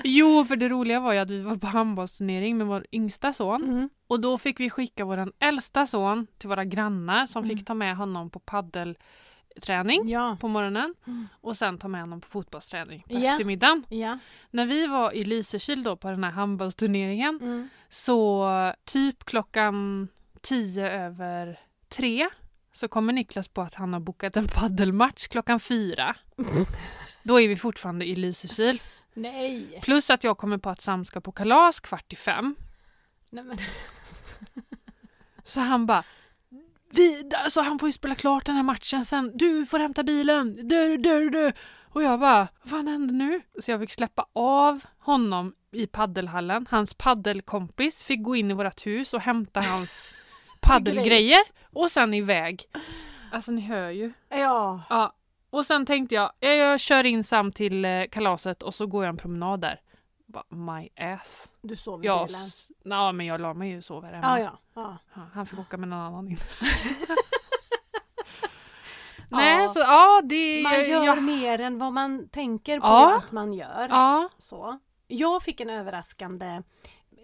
S2: Jo, för det roliga var ju att vi var på handbollsturnering med vår yngsta son.
S1: Mm.
S2: Och då fick vi skicka vår äldsta son till våra grannar som
S1: Mm.
S2: fick ta med honom på paddelträning
S1: Ja.
S2: på morgonen
S1: Mm.
S2: och sen ta med honom på fotbollsträning på
S1: Ja.
S2: eftermiddagen.
S1: Ja.
S2: När vi var i Lysekil då på den här handbollsturneringen
S1: Mm.
S2: så typ klockan tio över tre så kommer Niklas på att han har bokat en paddelmatch klockan fyra. Då är vi fortfarande i Lysekil.
S1: Nej.
S2: Plus att jag kommer på att Sam ska på kalas kvart i fem.
S1: Nej men.
S2: Så han bara vi, alltså han får ju spela klart den här matchen sen. Du får hämta bilen. Du, du, du. Och jag bara, vad fan händer nu? Så jag fick släppa av honom i paddelhallen. Hans paddelkompis fick gå in i vårt hus och hämta hans paddelgrejer och sen iväg. Alltså ni hör ju.
S1: Ja.
S2: Ja. Och sen tänkte jag, jag, jag kör in Sam till eh, kalaset och så går jag en promenad där. Bara, my ass.
S1: Du sov i
S2: Jag,
S1: bilen.
S2: s- na, men jag la mig ju och sov här hemma.
S1: Ja, ja. ja.
S2: Ja, Han fick åka med någon annan in.
S1: Ja.
S2: Nej, så ja, det...
S1: Man gör
S2: jag,
S1: mer än vad man tänker på
S2: Ja.
S1: att man gör.
S2: ja,
S1: Så. Jag fick en överraskande eh,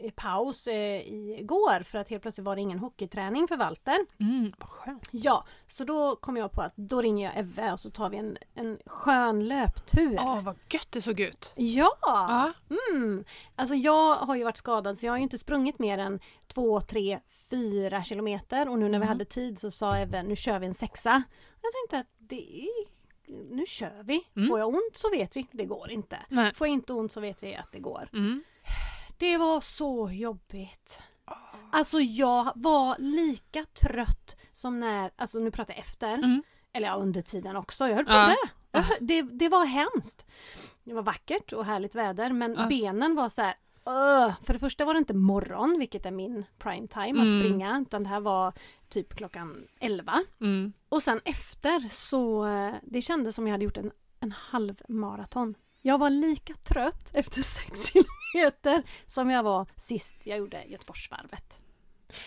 S1: eh, paus eh, igår för att helt plötsligt var det ingen hockeyträning för Walter.
S2: Mm, vad skönt.
S1: Ja, så då kom jag på att då ringer jag Evve och så tar vi en, en skön löptur.
S2: Åh, vad gött det såg ut.
S1: Ja!
S2: Ja.
S1: Mm. Alltså jag har ju varit skadad så jag har ju inte sprungit mer än två, tre, fyra kilometer och nu när vi
S2: Mhm.
S1: hade tid så sa Evve nu kör vi en sexa. Jag tänkte att det är, nu kör vi.
S2: Mm.
S1: Får jag ont så vet vi, det går inte.
S2: Nej.
S1: Får jag inte ont så vet vi att det går.
S2: Mm.
S1: Det var så jobbigt.
S2: Ah.
S1: Alltså jag var lika trött som när, alltså nu pratar jag efter,
S2: Mm.
S1: eller ja, under tiden också, jag höll på
S2: Ja.
S1: det. Jag hö- det. Det var hemskt. Det var vackert och härligt väder men
S2: Ja.
S1: benen var så här. "Ugh." För det första var det inte morgon, vilket är min prime time att
S2: Mm.
S1: springa, utan det här var typ klockan 11.
S2: Mm.
S1: Och sen efter så, eh, det kändes som jag hade gjort en, en halv maraton. Jag var lika trött efter sex kilometer som jag var sist jag gjorde Göteborgsvarvet.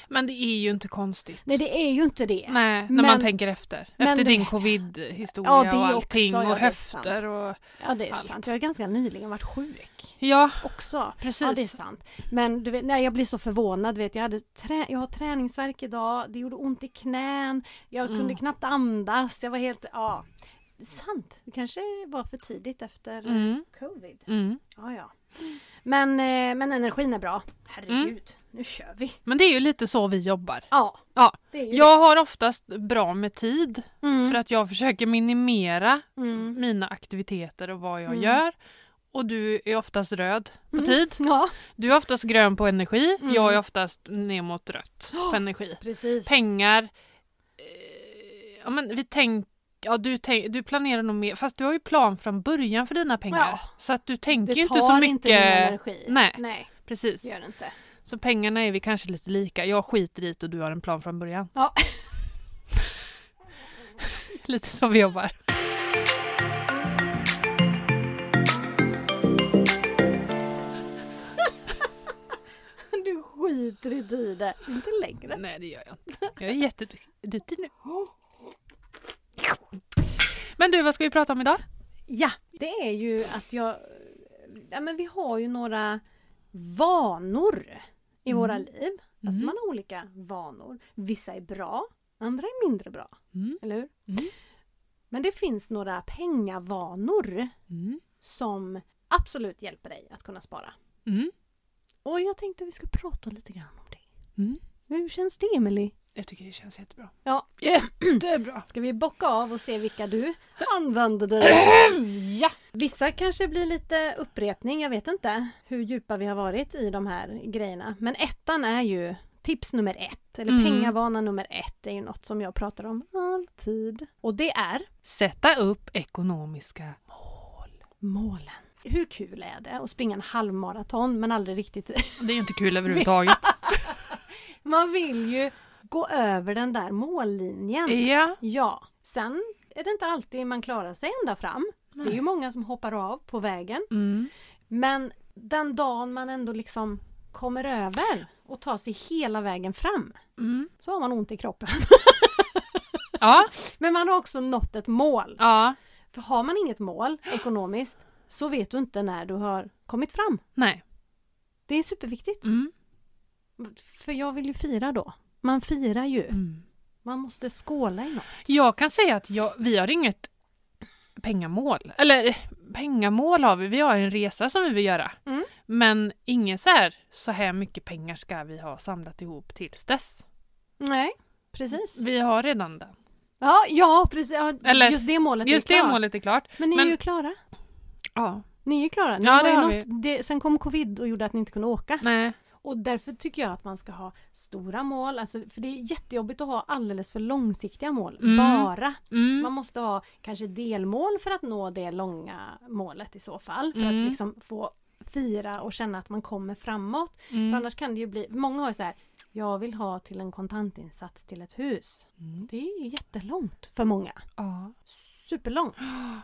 S2: Men det är ju inte konstigt.
S1: Nej det är ju inte det.
S2: Nej, när
S1: Men-
S2: man tänker efter.
S1: men
S2: Efter
S1: du
S2: din
S1: vet-
S2: covid-historia
S1: Ja, det
S2: och
S1: är
S2: allting
S1: också, ja,
S2: och
S1: det är sant.
S2: höfter och...
S1: Ja det är
S2: Allt.
S1: sant, jag har ganska nyligen varit sjuk
S2: Ja,
S1: också.
S2: precis.
S1: Ja det är sant. Men du vet, nej, jag blir så förvånad. Du vet, jag, hade trä- jag har träningsvärk idag, det gjorde ont i knän, jag
S2: Mm.
S1: kunde knappt andas, jag var helt, ja. Sant, det kanske var för tidigt efter eh,
S2: Mm.
S1: covid.
S2: Mm.
S1: Ja, ja. Men, eh, men energin är bra. Herregud, nu kör vi.
S2: Men det är ju lite så vi jobbar.
S1: Ja,
S2: Mm. Ja.
S1: det är ju
S2: Jag har oftast bra med tid
S1: det. Mm.
S2: för att jag försöker minimera
S1: Mm.
S2: mina aktiviteter och vad jag
S1: Mm.
S2: gör. Och du är oftast röd på
S1: Mm.
S2: tid.
S1: Ja,
S2: Du är oftast grön på energi.
S1: Mm.
S2: Jag är oftast ner mot rött på energi.
S1: precis.
S2: Pengar. Eh, ja, men vi tänk, ja, du, tänk, du planerar nog mer. Fast du har ju plan från början för dina pengar.
S1: Ja.
S2: Så att du tänker
S1: det
S2: ju inte
S1: tar
S2: så
S1: inte din
S2: mycket.
S1: energi.
S2: Nej.
S1: Nej,
S2: Precis.
S1: det gör det inte.
S2: Så pengarna är vi kanske lite lika. Jag skiter i det och du har en plan från början.
S1: Ja.
S2: lite så vi jobbar.
S1: Du skiter i det. Inte längre.
S2: Nej, det gör jag inte. Jag är jätteduktig nu. Men du, vad ska vi prata om idag?
S1: Ja, det är ju att jag... Ja, men vi har ju några vanor i
S2: Mm.
S1: våra liv. Alltså
S2: Mm.
S1: man har olika vanor. Vissa är bra, andra är mindre bra.
S2: Mm.
S1: Eller hur?
S2: Mm.
S1: Men det finns några pengavanor
S2: Mm.
S1: som absolut hjälper dig att kunna spara.
S2: Mm.
S1: Och jag tänkte vi skulle prata lite grann om det.
S2: Mm.
S1: Hur känns det Emily?
S2: Jag tycker det känns jättebra.
S1: Ja.
S2: Jättebra!
S1: Ska vi bocka av och se vilka du använder dig av?
S2: ja!
S1: Vissa kanske blir lite upprepning, jag vet inte hur djupa vi har varit i de här grejerna. Men ettan är ju tips nummer ett, eller
S2: Mm.
S1: pengavana nummer ett, är ju något som jag pratar om alltid. Och det är
S2: Sätta upp ekonomiska mål.
S1: målen. Hur kul är det att springa en halvmaraton men aldrig riktigt
S2: Det är inte kul överhuvudtaget.
S1: Man vill ju gå över den där mållinjen.
S2: ja.
S1: Ja, sen är det inte alltid man klarar sig ända fram. Det är ju
S2: Nej.
S1: många som hoppar av på vägen.
S2: Mm.
S1: Men den dagen man ändå liksom kommer över och tar sig hela vägen fram
S2: Mm.
S1: så har man ont i kroppen.
S2: Ja.
S1: Men man har också nått ett mål.
S2: ja.
S1: För har man inget mål ekonomiskt så vet du inte när du har kommit fram.
S2: Nej.
S1: Det är superviktigt.
S2: Mm.
S1: För jag vill ju fira då. Man firar ju.
S2: Mm.
S1: Man måste skåla i något.
S2: Jag kan säga att jag, vi har inget pengamål. Eller pengamål har vi. Vi har en resa som vi vill göra.
S1: Mm.
S2: Men inget så här, så här mycket pengar ska vi ha samlat ihop tills dess.
S1: Nej, precis.
S2: Vi har redan den.
S1: Ja, ja precis. Ja,
S2: Eller,
S1: just det målet
S2: Just
S1: är ju
S2: det
S1: klart.
S2: målet är klart.
S1: Men ni
S2: men-
S1: är ju klara.
S2: Ja.
S1: Ni är ju klara. Ni
S2: Ja,
S1: har
S2: det
S1: ju
S2: har
S1: nått, det, sen kom covid och gjorde att ni inte kunde åka.
S2: Nej.
S1: Och därför tycker jag att man ska ha stora mål. Alltså, för det är jättejobbigt att ha alldeles för långsiktiga mål.
S2: Mm.
S1: Bara.
S2: Mm.
S1: Man måste ha kanske delmål för att nå det långa målet i så fall. För
S2: Mm.
S1: att liksom få fira och känna att man kommer framåt. För
S2: Mm.
S1: annars kan det ju bli, många har ju så här, jag vill ha till en kontantinsats till ett hus.
S2: Mm.
S1: Det är jättelångt för många.
S2: Ja.
S1: superlångt.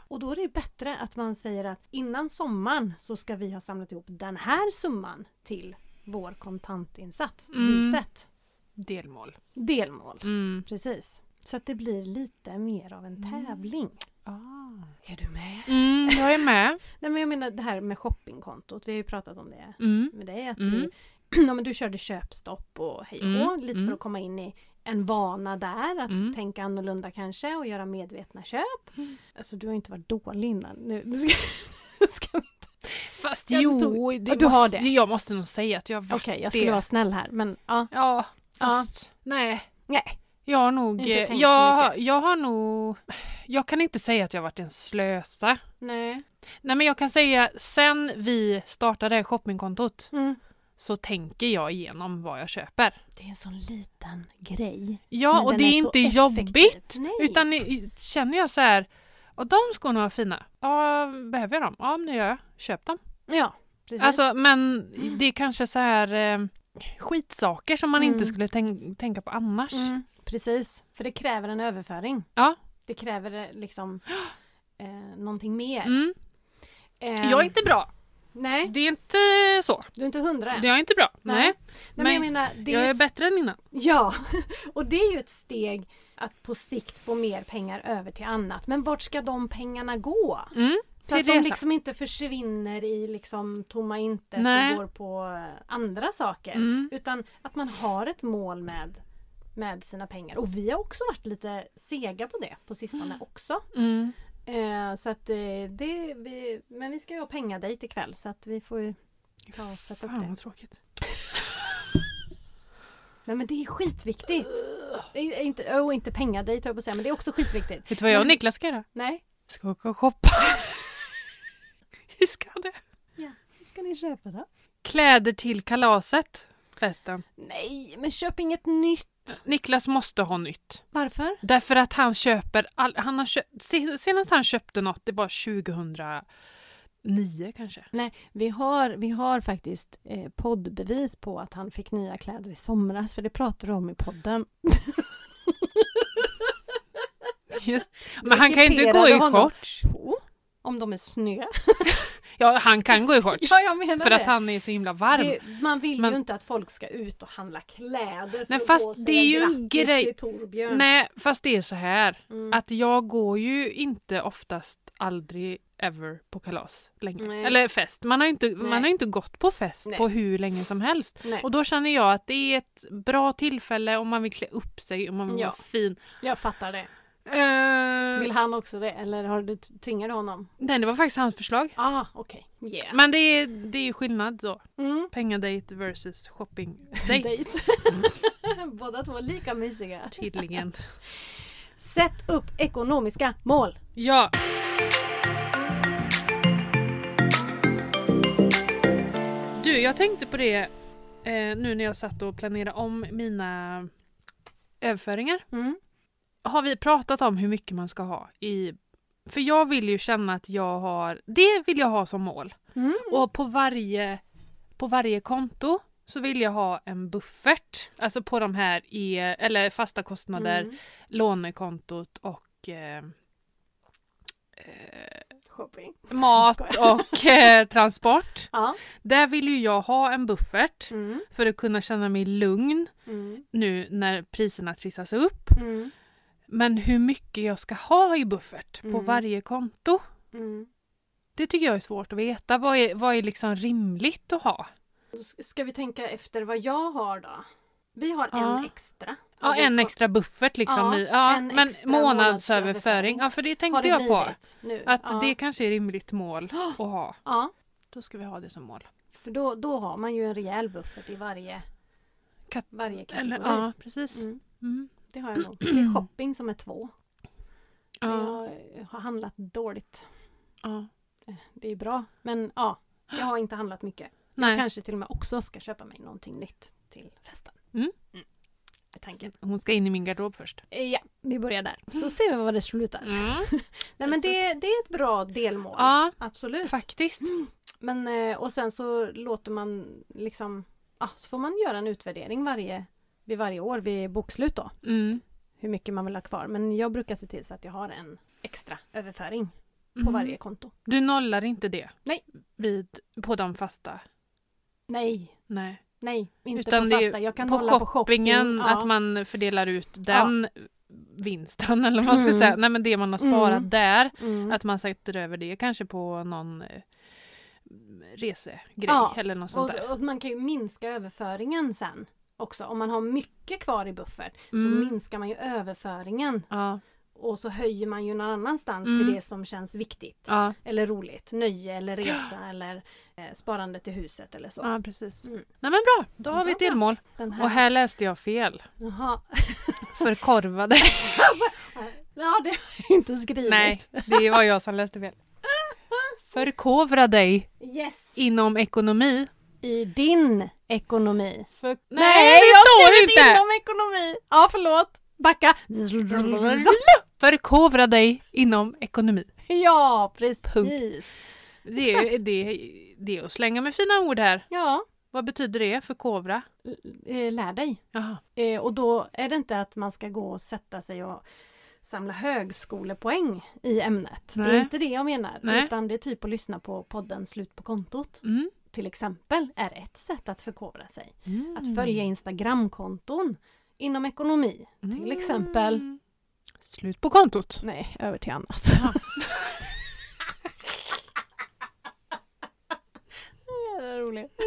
S1: Och då är det bättre att man säger att innan sommaren så ska vi ha samlat ihop den här summan till vår kontantinsats till
S2: Mm.
S1: huset.
S2: Delmål.
S1: Delmål.
S2: Mm.
S1: Precis. Så att det blir lite mer av en
S2: Mm.
S1: tävling.
S2: Ah.
S1: Är du med?
S2: Mm, jag är med.
S1: Nej men jag menar det här med shoppingkontot. Vi har ju pratat om det
S2: Mm.
S1: med dig. Att
S2: Mm.
S1: du, ja, men du körde köpstopp och hej och
S2: Mm,
S1: hå, lite
S2: mm.
S1: för att komma in i en vana där, att
S2: Mm.
S1: tänka annorlunda kanske och göra medvetna köp. Alltså du har ju inte varit dålig innan. Nu, nu ska, nu ska vi...
S2: Fast
S1: Ja,
S2: jo,
S1: men tog-
S2: det
S1: Ja, du har
S2: måste,
S1: det.
S2: jag måste nog säga att jag
S1: Okej,
S2: var...
S1: jag skulle
S2: Det-
S1: vara snäll här men ja.
S2: Ja,
S1: Ja.
S2: fast nej.
S1: Nej.
S2: Jag har nog...
S1: Inte tänkt så
S2: Jag, jag har nog... Jag kan inte säga att jag varit en slösa.
S1: Nej.
S2: Nej men jag kan säga sen vi startade shoppingkontot
S1: Mm.
S2: så tänker jag igenom vad jag köper.
S1: Det är en sån liten grej.
S2: Ja
S1: Men
S2: och
S1: den
S2: det är,
S1: är så
S2: inte
S1: effektiv.
S2: jobbigt.
S1: Nej.
S2: Utan i- i- känner jag så här, och de skorna var fina. Ja, behöver jag dem? Ja, men det gör jag. Köp dem.
S1: Ja, precis.
S2: Alltså men det är kanske så här eh, skitsaker som man
S1: Mm.
S2: inte skulle tänk- tänka på annars.
S1: Mm, precis, för det kräver en överföring.
S2: Ja.
S1: Det kräver eh, liksom eh, någonting mer.
S2: Mm.
S1: Eh,
S2: Jag är inte bra.
S1: Nej,
S2: Det är inte så.
S1: du är inte hundra än.
S2: Det är inte bra.
S1: Nej.
S2: Nej.
S1: Nej, men
S2: men
S1: jag menar, det
S2: jag
S1: är
S2: är
S1: ett...
S2: bättre än innan.
S1: Ja, och det är ju ett steg att på sikt få mer pengar över till annat. Men vart ska de pengarna gå?
S2: Mm.
S1: Så att
S2: Till
S1: de
S2: resa.
S1: liksom inte försvinner i liksom tomma intet
S2: Nej.
S1: och går på eh, andra saker.
S2: Mm.
S1: Utan att man har ett mål med, med sina pengar. Och vi har också varit lite sega på det på sistone också.
S2: Mm.
S1: Eh, så att eh, det, vi, men vi ska ju ha pengadejt ikväll så att vi får ju ta och sätta upp
S2: Fan
S1: det.
S2: vad tråkigt.
S1: Nej men det är skitviktigt! Det är inte, oh, inte pengadejt höll jag på att säga men det är också skitviktigt.
S2: Vet du vad jag och Niklas ska göra?
S1: Nej,
S2: Vi ska åka och shoppa. Vi ska det.
S1: vad ska ni köpa då?
S2: Kläder till kalaset. Festen.
S1: Nej, men köp inget nytt!
S2: Niklas måste ha nytt.
S1: Varför?
S2: Därför att han köper... All, han har köpt, sen- senast han köpte något, det var 2009 kanske.
S1: Nej, vi har, vi har faktiskt eh, poddbevis på att han fick nya kläder i somras för det pratade du om i podden.
S2: Just. Men han kan ju inte gå
S1: ockuperade
S2: i
S1: honom.
S2: shorts.
S1: Jo, om de är snö.
S2: Ja, han kan gå i shorts.
S1: Ja, jag menar
S2: För
S1: det.
S2: att han är så himla varm.
S1: Det, man vill
S2: Men-
S1: ju inte att folk ska ut och handla kläder för
S2: Nej,
S1: att
S2: fast
S1: gå och
S2: det är ju
S1: säga
S2: en
S1: grattis
S2: grej-
S1: till Torbjörn.
S2: Nej, fast det är så här.
S1: Mm.
S2: Att jag går ju inte oftast aldrig ever på kalas längre.
S1: Nej.
S2: Eller fest. Man har ju inte,
S1: Nej.
S2: man har ju inte gått på fest
S1: Nej.
S2: på hur länge som helst.
S1: Nej.
S2: Och då känner jag att det är ett bra tillfälle om man vill klä upp sig, om man vill
S1: Ja.
S2: vara fin.
S1: Jag fattar det.
S2: Eh,
S1: Vill han också det eller har du tvingat honom?
S2: Nej, det var faktiskt hans förslag.
S1: Ah, okej. Yeah.
S2: Men det är, det är skillnad då.
S1: Mm.
S2: Pengadejt versus shoppingdejt.
S1: Dejt. Båda två lika mysiga.
S2: Tydligen.
S1: Sätt upp ekonomiska mål.
S2: Ja. Du, jag tänkte på det eh, nu när jag satt och planerade om mina överföringar.
S1: Mm.
S2: Har vi pratat om hur mycket man ska ha i... För jag vill ju känna att jag har... Det vill jag ha som mål.
S1: Mm.
S2: Och på varje, på varje konto så vill jag ha en buffert. Alltså på de här e, eller fasta kostnader,
S1: Mm.
S2: lånekontot och eh, eh,
S1: Shopping.
S2: mat och eh, transport.
S1: Ja.
S2: Där vill ju jag ha en buffert
S1: Mm.
S2: för att kunna känna mig lugn
S1: Mm.
S2: nu när priserna trissas upp.
S1: Mm.
S2: Men hur mycket jag ska ha i buffert på
S1: Mm.
S2: varje konto,
S1: Mm.
S2: det tycker jag är svårt att veta. Vad är, vad är liksom rimligt att ha?
S1: Då s- Ska vi tänka efter vad jag har då? Vi har
S2: Ja.
S1: en extra.
S2: Ja, en extra buffert liksom.
S1: Ja,
S2: Ja, i, ja,
S1: en
S2: men
S1: extra månadsöverföring.
S2: månadsöverföring. Ja, för det
S1: Har
S2: tänkte
S1: det
S2: jag på.
S1: blivit Nu?
S2: Att
S1: ja.
S2: det kanske är rimligt mål att ha.
S1: Ja,
S2: Då ska vi ha det som mål.
S1: för då, då har man ju en rejäl buffert i varje,
S2: Kat-
S1: varje kategori.
S2: Eller, ja, precis.
S1: Mm,
S2: Mm.
S1: det har jag nog. Det är shopping som är två.
S2: Ja,
S1: Jag har handlat dåligt.
S2: ja.
S1: Det är bra, men ja. Jag har inte handlat mycket.
S2: Nej,
S1: Kanske till och med också ska köpa mig någonting nytt till festen.
S2: Mm.
S1: Är Tanken.
S2: hon ska in i min garderob först.
S1: Eh, Ja, vi börjar där. Så ser vi var det slutar. Nej men det, det är ett bra delmål.
S2: Mm. Ja,
S1: Absolut.
S2: faktiskt.
S1: Men, eh, och sen så låter man liksom, ja, så får man göra en utvärdering varje, vid varje år vid bokslut då,
S2: Mm.
S1: hur mycket man vill ha kvar. Men jag brukar se till så att jag har en extra överföring på
S2: Mm.
S1: varje konto.
S2: Du nollar inte det?
S1: Nej.
S2: Vid, på de fasta?
S1: Nej,
S2: Nej.
S1: nej, inte
S2: Utan
S1: på
S2: det är
S1: fasta. Jag kan
S2: på
S1: hålla
S2: shoppingen,
S1: på shoppingen. Ja.
S2: att man fördelar ut den vinsten eller vad man ska
S1: Mm.
S2: säga. Nej men det man har sparat
S1: Mm.
S2: där
S1: mm.
S2: Att man sätter över det kanske på någon eh, resegrej
S1: Ja,
S2: eller något sånt
S1: Och,
S2: där.
S1: så- och man kan ju minska överföringen sen också. Om man har mycket kvar i buffert
S2: Mm.
S1: så minskar man ju överföringen
S2: Ja,
S1: och så höjer man ju någon annanstans
S2: Mm.
S1: till det som känns viktigt
S2: ja,
S1: eller roligt. Nöje eller resa eller eh, sparande till huset eller så.
S2: ja, precis.
S1: Mm.
S2: Nej men bra, då har
S1: Bra,
S2: vi ett delmål.
S1: Den här,
S2: Och här läste jag fel.
S1: Jaha.
S2: För korvade.
S1: Ja, det har jag inte skrivit.
S2: Nej, det var jag som läste fel. Förkovra dig
S1: Yes.
S2: inom ekonomi.
S1: I din ekonomi.
S2: För...
S1: jag
S2: Nej, det
S1: har
S2: står
S1: skrivit
S2: inte!
S1: inom ekonomi. Ja, förlåt. Backa.
S2: Förkovra dig inom ekonomi.
S1: Ja, precis.
S2: Punkt. Det är, det, det är att slänga med fina ord här.
S1: Ja,
S2: Vad betyder det? Förkovra?
S1: l- eh, lär dig.
S2: Jaha.
S1: Eh, Och då är det inte att man ska gå och sätta sig och samla högskolepoäng i ämnet. Det
S2: Nej.
S1: är inte det jag menar.
S2: Nej.
S1: Utan det är typ att lyssna på podden Slut på kontot.
S2: Mm.
S1: Till exempel är ett sätt att förkovra sig.
S2: Mm.
S1: Att följa Instagramkonton inom ekonomi. Till exempel,
S2: Mm. Slut på kontot.
S1: nej, över till annat. Jävla roligt.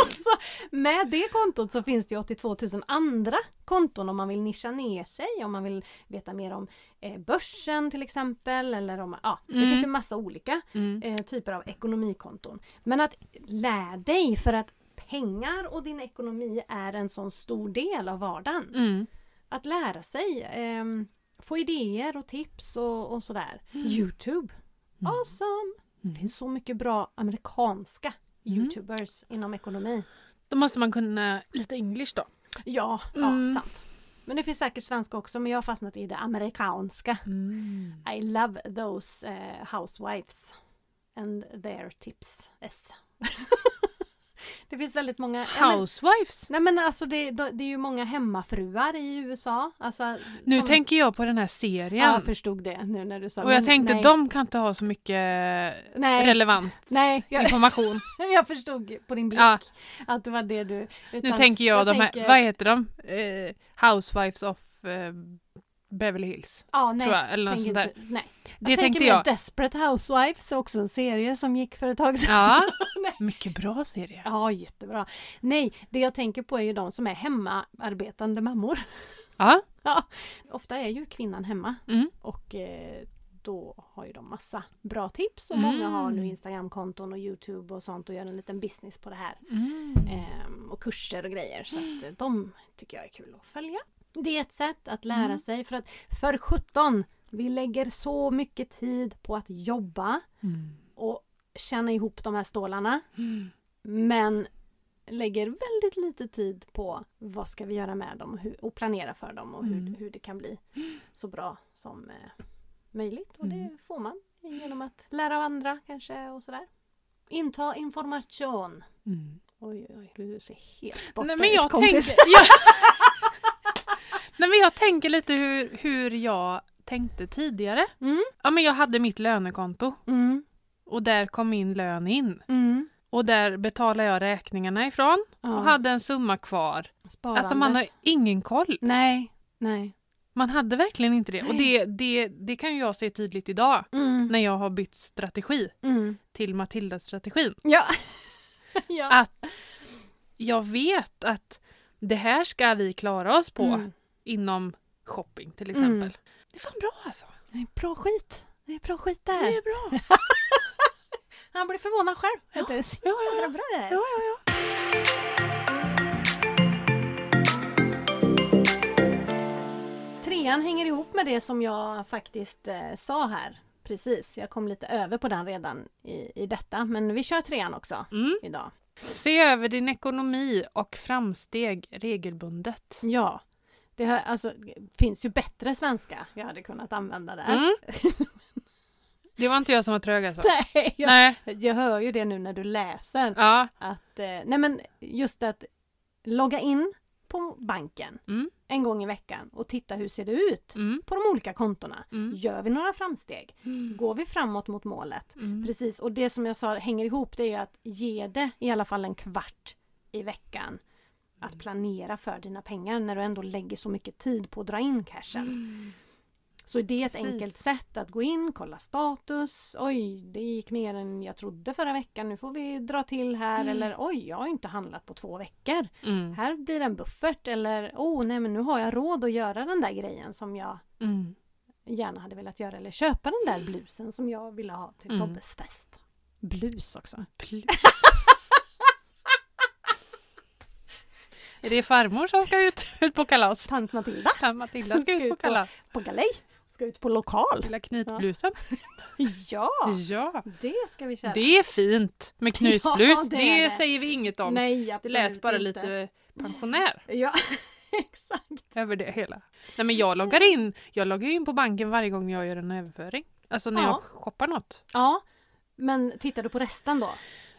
S1: Alltså, med det kontot så finns det ju 82 000 andra konton om man vill nischa ner sig, om man vill veta mer om eh, börsen till exempel. Eller om, ja, det
S2: Mm.
S1: finns ju massa olika
S2: Mm.
S1: eh, typer av ekonomikonton. Men att lär dig för att pengar och din ekonomi är en sån stor del av vardagen.
S2: Mm.
S1: Att lära sig, ehm, få idéer och tips och, och sådär.
S2: Mm.
S1: Youtube, awesome! Det finns så mycket bra amerikanska
S2: Mm.
S1: Youtubers inom ekonomi.
S2: Då måste man kunna lite English då.
S1: Ja,
S2: Mm.
S1: ja, sant. Men det finns säkert svenska också men jag har fastnat i det amerikanska. I love those eh, housewives and their tips. Yes. det finns väldigt många... Ja, men-
S2: Housewives.
S1: Nej men alltså det, då- det är ju många hemmafruar i USA. Alltså,
S2: Nu
S1: som-
S2: tänker jag på den här serien.
S1: Ja, jag förstod det nu när du sa
S2: och jag
S1: men
S2: tänkte
S1: nej,
S2: de kan inte ha så mycket
S1: Nej,
S2: relevant
S1: nej jag,
S2: information.
S1: jag förstod på din blick
S2: Mm. Ja.
S1: att det var det du...
S2: Nu
S1: utan-
S2: tänker jag,
S1: jag
S2: de här,
S1: tänker-
S2: vad heter de? Eh, Housewives of eh, Beverly Hills.
S1: ja, nej,
S2: tror jag, eller något
S1: tänker
S2: sånt där.
S1: inte- nej.
S2: Det
S1: jag
S2: tänkte
S1: tänker
S2: jag.
S1: mer Desperate Housewives, också en serie som gick för ett tag sedan.
S2: Ja, mycket bra serie.
S1: Ja, jättebra. Nej, det jag tänker på är ju de som är hemmaarbetande mammor.
S2: Ja.
S1: Ofta är ju kvinnan hemma
S2: Mm.
S1: och eh, då har ju de massa bra tips och
S2: Mm.
S1: många har nu Instagramkonton och Youtube och sånt och gör en liten business på det här.
S2: Mm.
S1: Ehm, och kurser och grejer så att eh, de tycker jag är kul att följa. Det är ett sätt att lära
S2: Mm.
S1: sig för att för 17 vi lägger så mycket tid på att jobba och känna ihop de här stålarna.
S2: Mm.
S1: Men lägger väldigt lite tid på vad ska vi göra med dem och, hur, och planera för dem och hur,
S2: Mm.
S1: hur det kan bli så bra som eh, möjligt. Och
S2: Mm.
S1: det får man genom att lära av andra kanske och sådär. Inta information.
S2: Mm.
S1: Oj, oj, oj, du ser helt borta
S2: Nej, men
S1: ut,
S2: jag
S1: kompis.
S2: tänker, jag, Nej, men jag tänker lite hur, hur jag tänkte tidigare.
S1: Mm.
S2: Ja, men jag hade mitt lönekonto
S1: Mm,
S2: och där kom min lön in.
S1: mm.
S2: Och där betalade jag räkningarna ifrån
S1: Ja,
S2: och hade en summa kvar.
S1: sparandet.
S2: Alltså man har ingen koll.
S1: Nej, nej.
S2: Man hade verkligen inte det. Och
S1: Nej.
S2: det, det, det kan ju jag se tydligt idag
S1: Mm,
S2: när jag har bytt strategi
S1: mm.
S2: till Matilda-strategin.
S1: Ja. ja.
S2: Att jag vet att det här ska vi klara oss på
S1: Mm.
S2: inom shopping till exempel.
S1: Mm.
S2: Det är fan bra alltså.
S1: Det är bra skit. Det är bra skit där.
S2: Det är bra.
S1: Han blir förvånad själv. Ja. Det är så
S2: Ja, ja,
S1: jävla
S2: ja.
S1: bra det här.
S2: Ja, ja, ja.
S1: Trean hänger ihop med det som jag faktiskt eh, sa här. Precis, jag kom lite över på den redan i, i detta. Men vi kör trean också
S2: Mm.
S1: idag.
S2: Se över din ekonomi och framsteg regelbundet.
S1: Ja, det här, alltså, finns ju bättre svenska jag hade kunnat använda där.
S2: Mm. Det var inte jag som var trög alltså.
S1: Nej, jag,
S2: Nej.
S1: jag hör ju det nu när du läser.
S2: Ja.
S1: Att, eh, nej men just att logga in på banken
S2: Mm.
S1: en gång i veckan och titta hur ser det ut
S2: Mm.
S1: på de olika kontona.
S2: Mm.
S1: Gör vi några framsteg? Går vi framåt mot målet?
S2: Mm.
S1: Precis, och det som jag sa hänger ihop det är ju att ge det i alla fall en kvart i veckan.
S2: Mm.
S1: Att planera för dina pengar när du ändå lägger så mycket tid på att dra in cashen. Så det är ett
S2: Mm. Precis.
S1: enkelt sätt att gå in, kolla status. Oj, det gick mer än jag trodde förra veckan. Nu får vi dra till här.
S2: Mm.
S1: Eller oj, jag har inte handlat på två veckor.
S2: Mm.
S1: Här blir det en buffert. Eller oh, nej men nu har jag råd att göra den där grejen som jag
S2: Mm.
S1: gärna hade velat göra. Eller köpa den där blusen som jag ville ha till
S2: Mm.
S1: Tobbes fest. Blus också.
S2: Pl- Är det farmor som ska ut, ut på kalas?
S1: Tant Matilda
S2: Tant Matilda ska ut på kalas.
S1: på galej. Ska ut på lokal.
S2: Lilla knytblusen.
S1: Ja,
S2: Ja,
S1: det ska vi köra.
S2: det är fint med knytblus.
S1: Ja,
S2: det
S1: det är det.
S2: säger vi inget om.
S1: Nej,
S2: det
S1: absolut
S2: lät bara
S1: inte.
S2: lite pensionär
S1: Ja, exakt.
S2: över det hela. Nej men jag loggar in. Jag loggar ju in på banken varje gång jag gör en överföring. Alltså när
S1: Ja.
S2: jag shoppar något.
S1: Ja, men tittar du på resten då?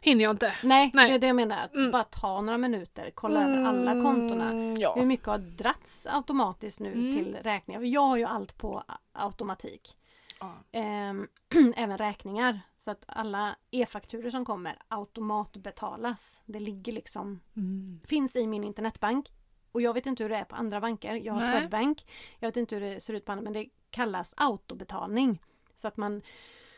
S2: Hinner jag inte.
S1: Nej,
S2: Nej.
S1: det är det jag menar. Att
S2: Mm.
S1: Bara ta några minuter, kolla över alla kontona.
S2: Mm, Ja.
S1: Hur mycket har dratts automatiskt nu
S2: Mm.
S1: till räkningar? För jag har ju allt på a- automatik.
S2: Ja.
S1: Ehm, även räkningar. Så att alla e-fakturor som kommer automatbetalas. Det ligger liksom,
S2: Mm.
S1: finns i min internetbank. Och jag vet inte hur det är på andra banker. Jag har
S2: Nej.
S1: Swedbank. Jag vet inte hur det ser ut på andra, men det kallas autobetalning. Så att man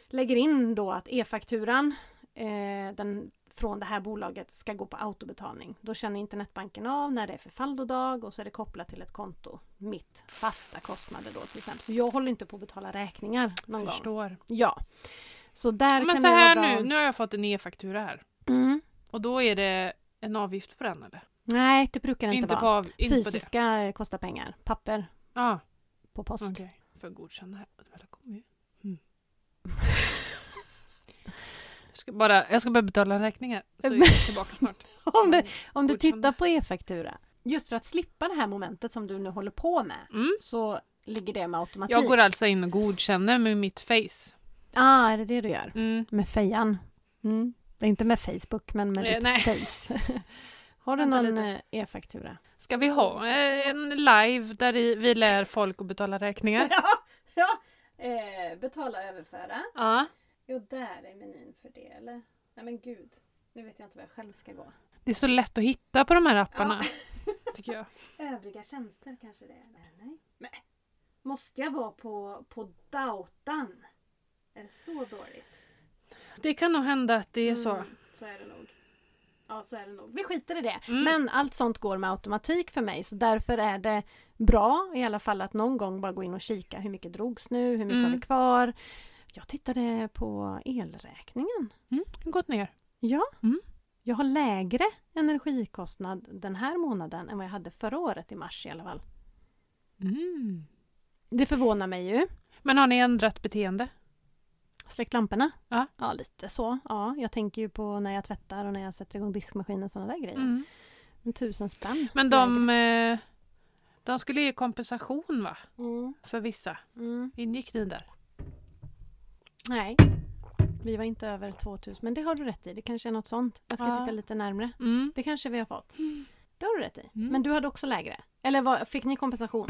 S1: lägger in då att e-fakturan eh, den från det här bolaget ska gå på autobetalning. Då känner internetbanken av när det är förfallodag och så är det kopplat till ett konto. Mitt fasta kostnader då till exempel. Så jag håller inte på att betala räkningar någon gång.
S2: Förstår.
S1: Ja. Så där
S2: Men
S1: kan
S2: så
S1: det
S2: här
S1: vara-
S2: nu, nu har jag fått en e-faktura här.
S1: Mm.
S2: Och då är det en avgift på den eller?
S1: Nej, det brukar det inte,
S2: Inte på,
S1: vara.
S2: av, inte på det?
S1: Fysiska eh, kostar pengar. Papper
S2: Ja,
S1: på post.
S2: okej. Får jag godkänna här? Det väl kommer ju. Mm. jag, ska bara, jag ska bara betala räkningar så är jag tillbaka snart.
S1: Om, det, om du
S2: Godkända.
S1: tittar på e-faktura. Just för att slippa det här momentet som du nu håller på med.
S2: Mm.
S1: Så ligger det med automatik.
S2: Jag går alltså in och godkänner med mitt face.
S1: Ah, är det det du gör?
S2: Mm.
S1: Med fejan? Mm. Det är inte med Facebook, men med
S2: Eh,
S1: ditt
S2: nej.
S1: face. Har du
S2: Vänta
S1: någon
S2: lite.
S1: eh, e-faktura?
S2: Ska vi ha eh, en live där i- vi lär folk att betala räkningar?
S1: ja. Eh, betala och överföra.
S2: Ja.
S1: Jo, där är menyn för det, eller? Nej men gud. Nu vet jag inte var jag själv ska gå.
S2: Det är så lätt att hitta på de här apparna, tycker jag.
S1: Övriga tjänster kanske det är? Nej, nej. Men, måste jag vara på, på Dautan? Är det så dåligt?
S2: Det kan nog hända att det är så.
S1: Mm, så är det nog. Ja, så är det nog. Vi skiter i det.
S2: Mm.
S1: Men allt sånt går med automatik för mig så därför är det bra i alla fall att någon gång bara gå in och kika. Hur mycket drogs nu? Hur mycket
S2: Mm.
S1: har vi kvar? Jag tittade på elräkningen.
S2: Mm. Gått ner.
S1: Ja,
S2: Mm.
S1: jag har lägre energikostnad den här månaden än vad jag hade förra året i mars i alla fall.
S2: Mm.
S1: Det förvånar mig ju.
S2: Men har ni ändrat beteende?
S1: Släckt lamporna?
S2: Ja.
S1: ja, lite så. Ja, jag tänker ju på när jag tvättar och när jag sätter igång diskmaskinen och sådana där grejer.
S2: Mm.
S1: En tusen spänn.
S2: Men de, eh, de skulle ge kompensation va?
S1: Mm,
S2: För vissa.
S1: mm.
S2: Ingick ni där?
S1: Nej, vi var inte över 2000. Men det har du rätt i. Det kanske är något sånt. Jag ska
S2: Ja.
S1: titta lite närmre.
S2: Mm.
S1: Det kanske vi har fått. Det har du rätt i.
S2: Mm.
S1: Men du hade också lägre. Eller vad, fick ni kompensation?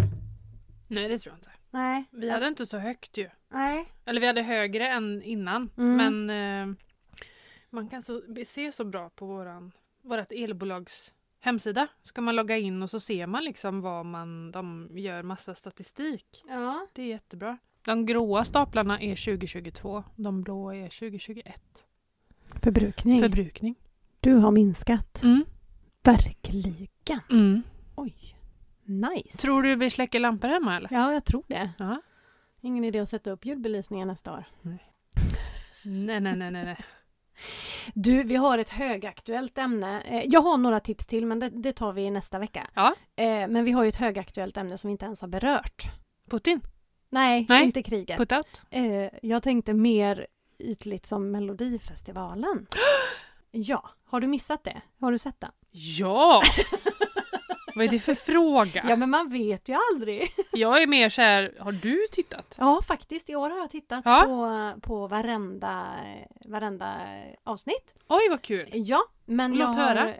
S2: Nej det tror jag inte.
S1: Nej.
S2: Vi hade inte så högt ju.
S1: Nej.
S2: Eller vi hade högre än innan.
S1: Mm.
S2: Men eh, man kan så, se så bra på våran, vårat elbolags hemsida. Så kan man logga in och så ser man liksom vad man, de gör massa statistik.
S1: Ja.
S2: Det är jättebra. De gråa staplarna är 2022. De blå är 2021.
S1: Förbrukning.
S2: Förbrukning.
S1: du har minskat.
S2: Mm.
S1: Verkligen.
S2: Mm.
S1: Oj. Nice.
S2: Tror du vi släcker lampor hemma eller?
S1: Ja, jag tror det.
S2: Ja.
S1: Ingen idé att sätta upp julbelysningen nästa år.
S2: Nej, nej, nej, nej. nej.
S1: Du, vi har ett högaktuellt ämne. Eh, Jag har några tips till men det, det tar vi nästa vecka.
S2: Ja.
S1: Eh, Men vi har ju ett högaktuellt ämne som vi inte ens har berört.
S2: Putin,
S1: Nej,
S2: Nej.
S1: inte kriget.
S2: put out.
S1: Eh, Jag tänkte mer ytligt som Melodifestivalen. Ja, har du missat det? Har du sett den?
S2: Ja! Vad är det för fråga?
S1: Ja, men man vet ju aldrig.
S2: Jag är mer så här, har du tittat?
S1: Ja, faktiskt. I år har jag tittat
S2: Ja.
S1: på, på varenda, varenda avsnitt.
S2: Oj, vad kul!
S1: Ja, men
S2: Låt
S1: jag har...
S2: höra.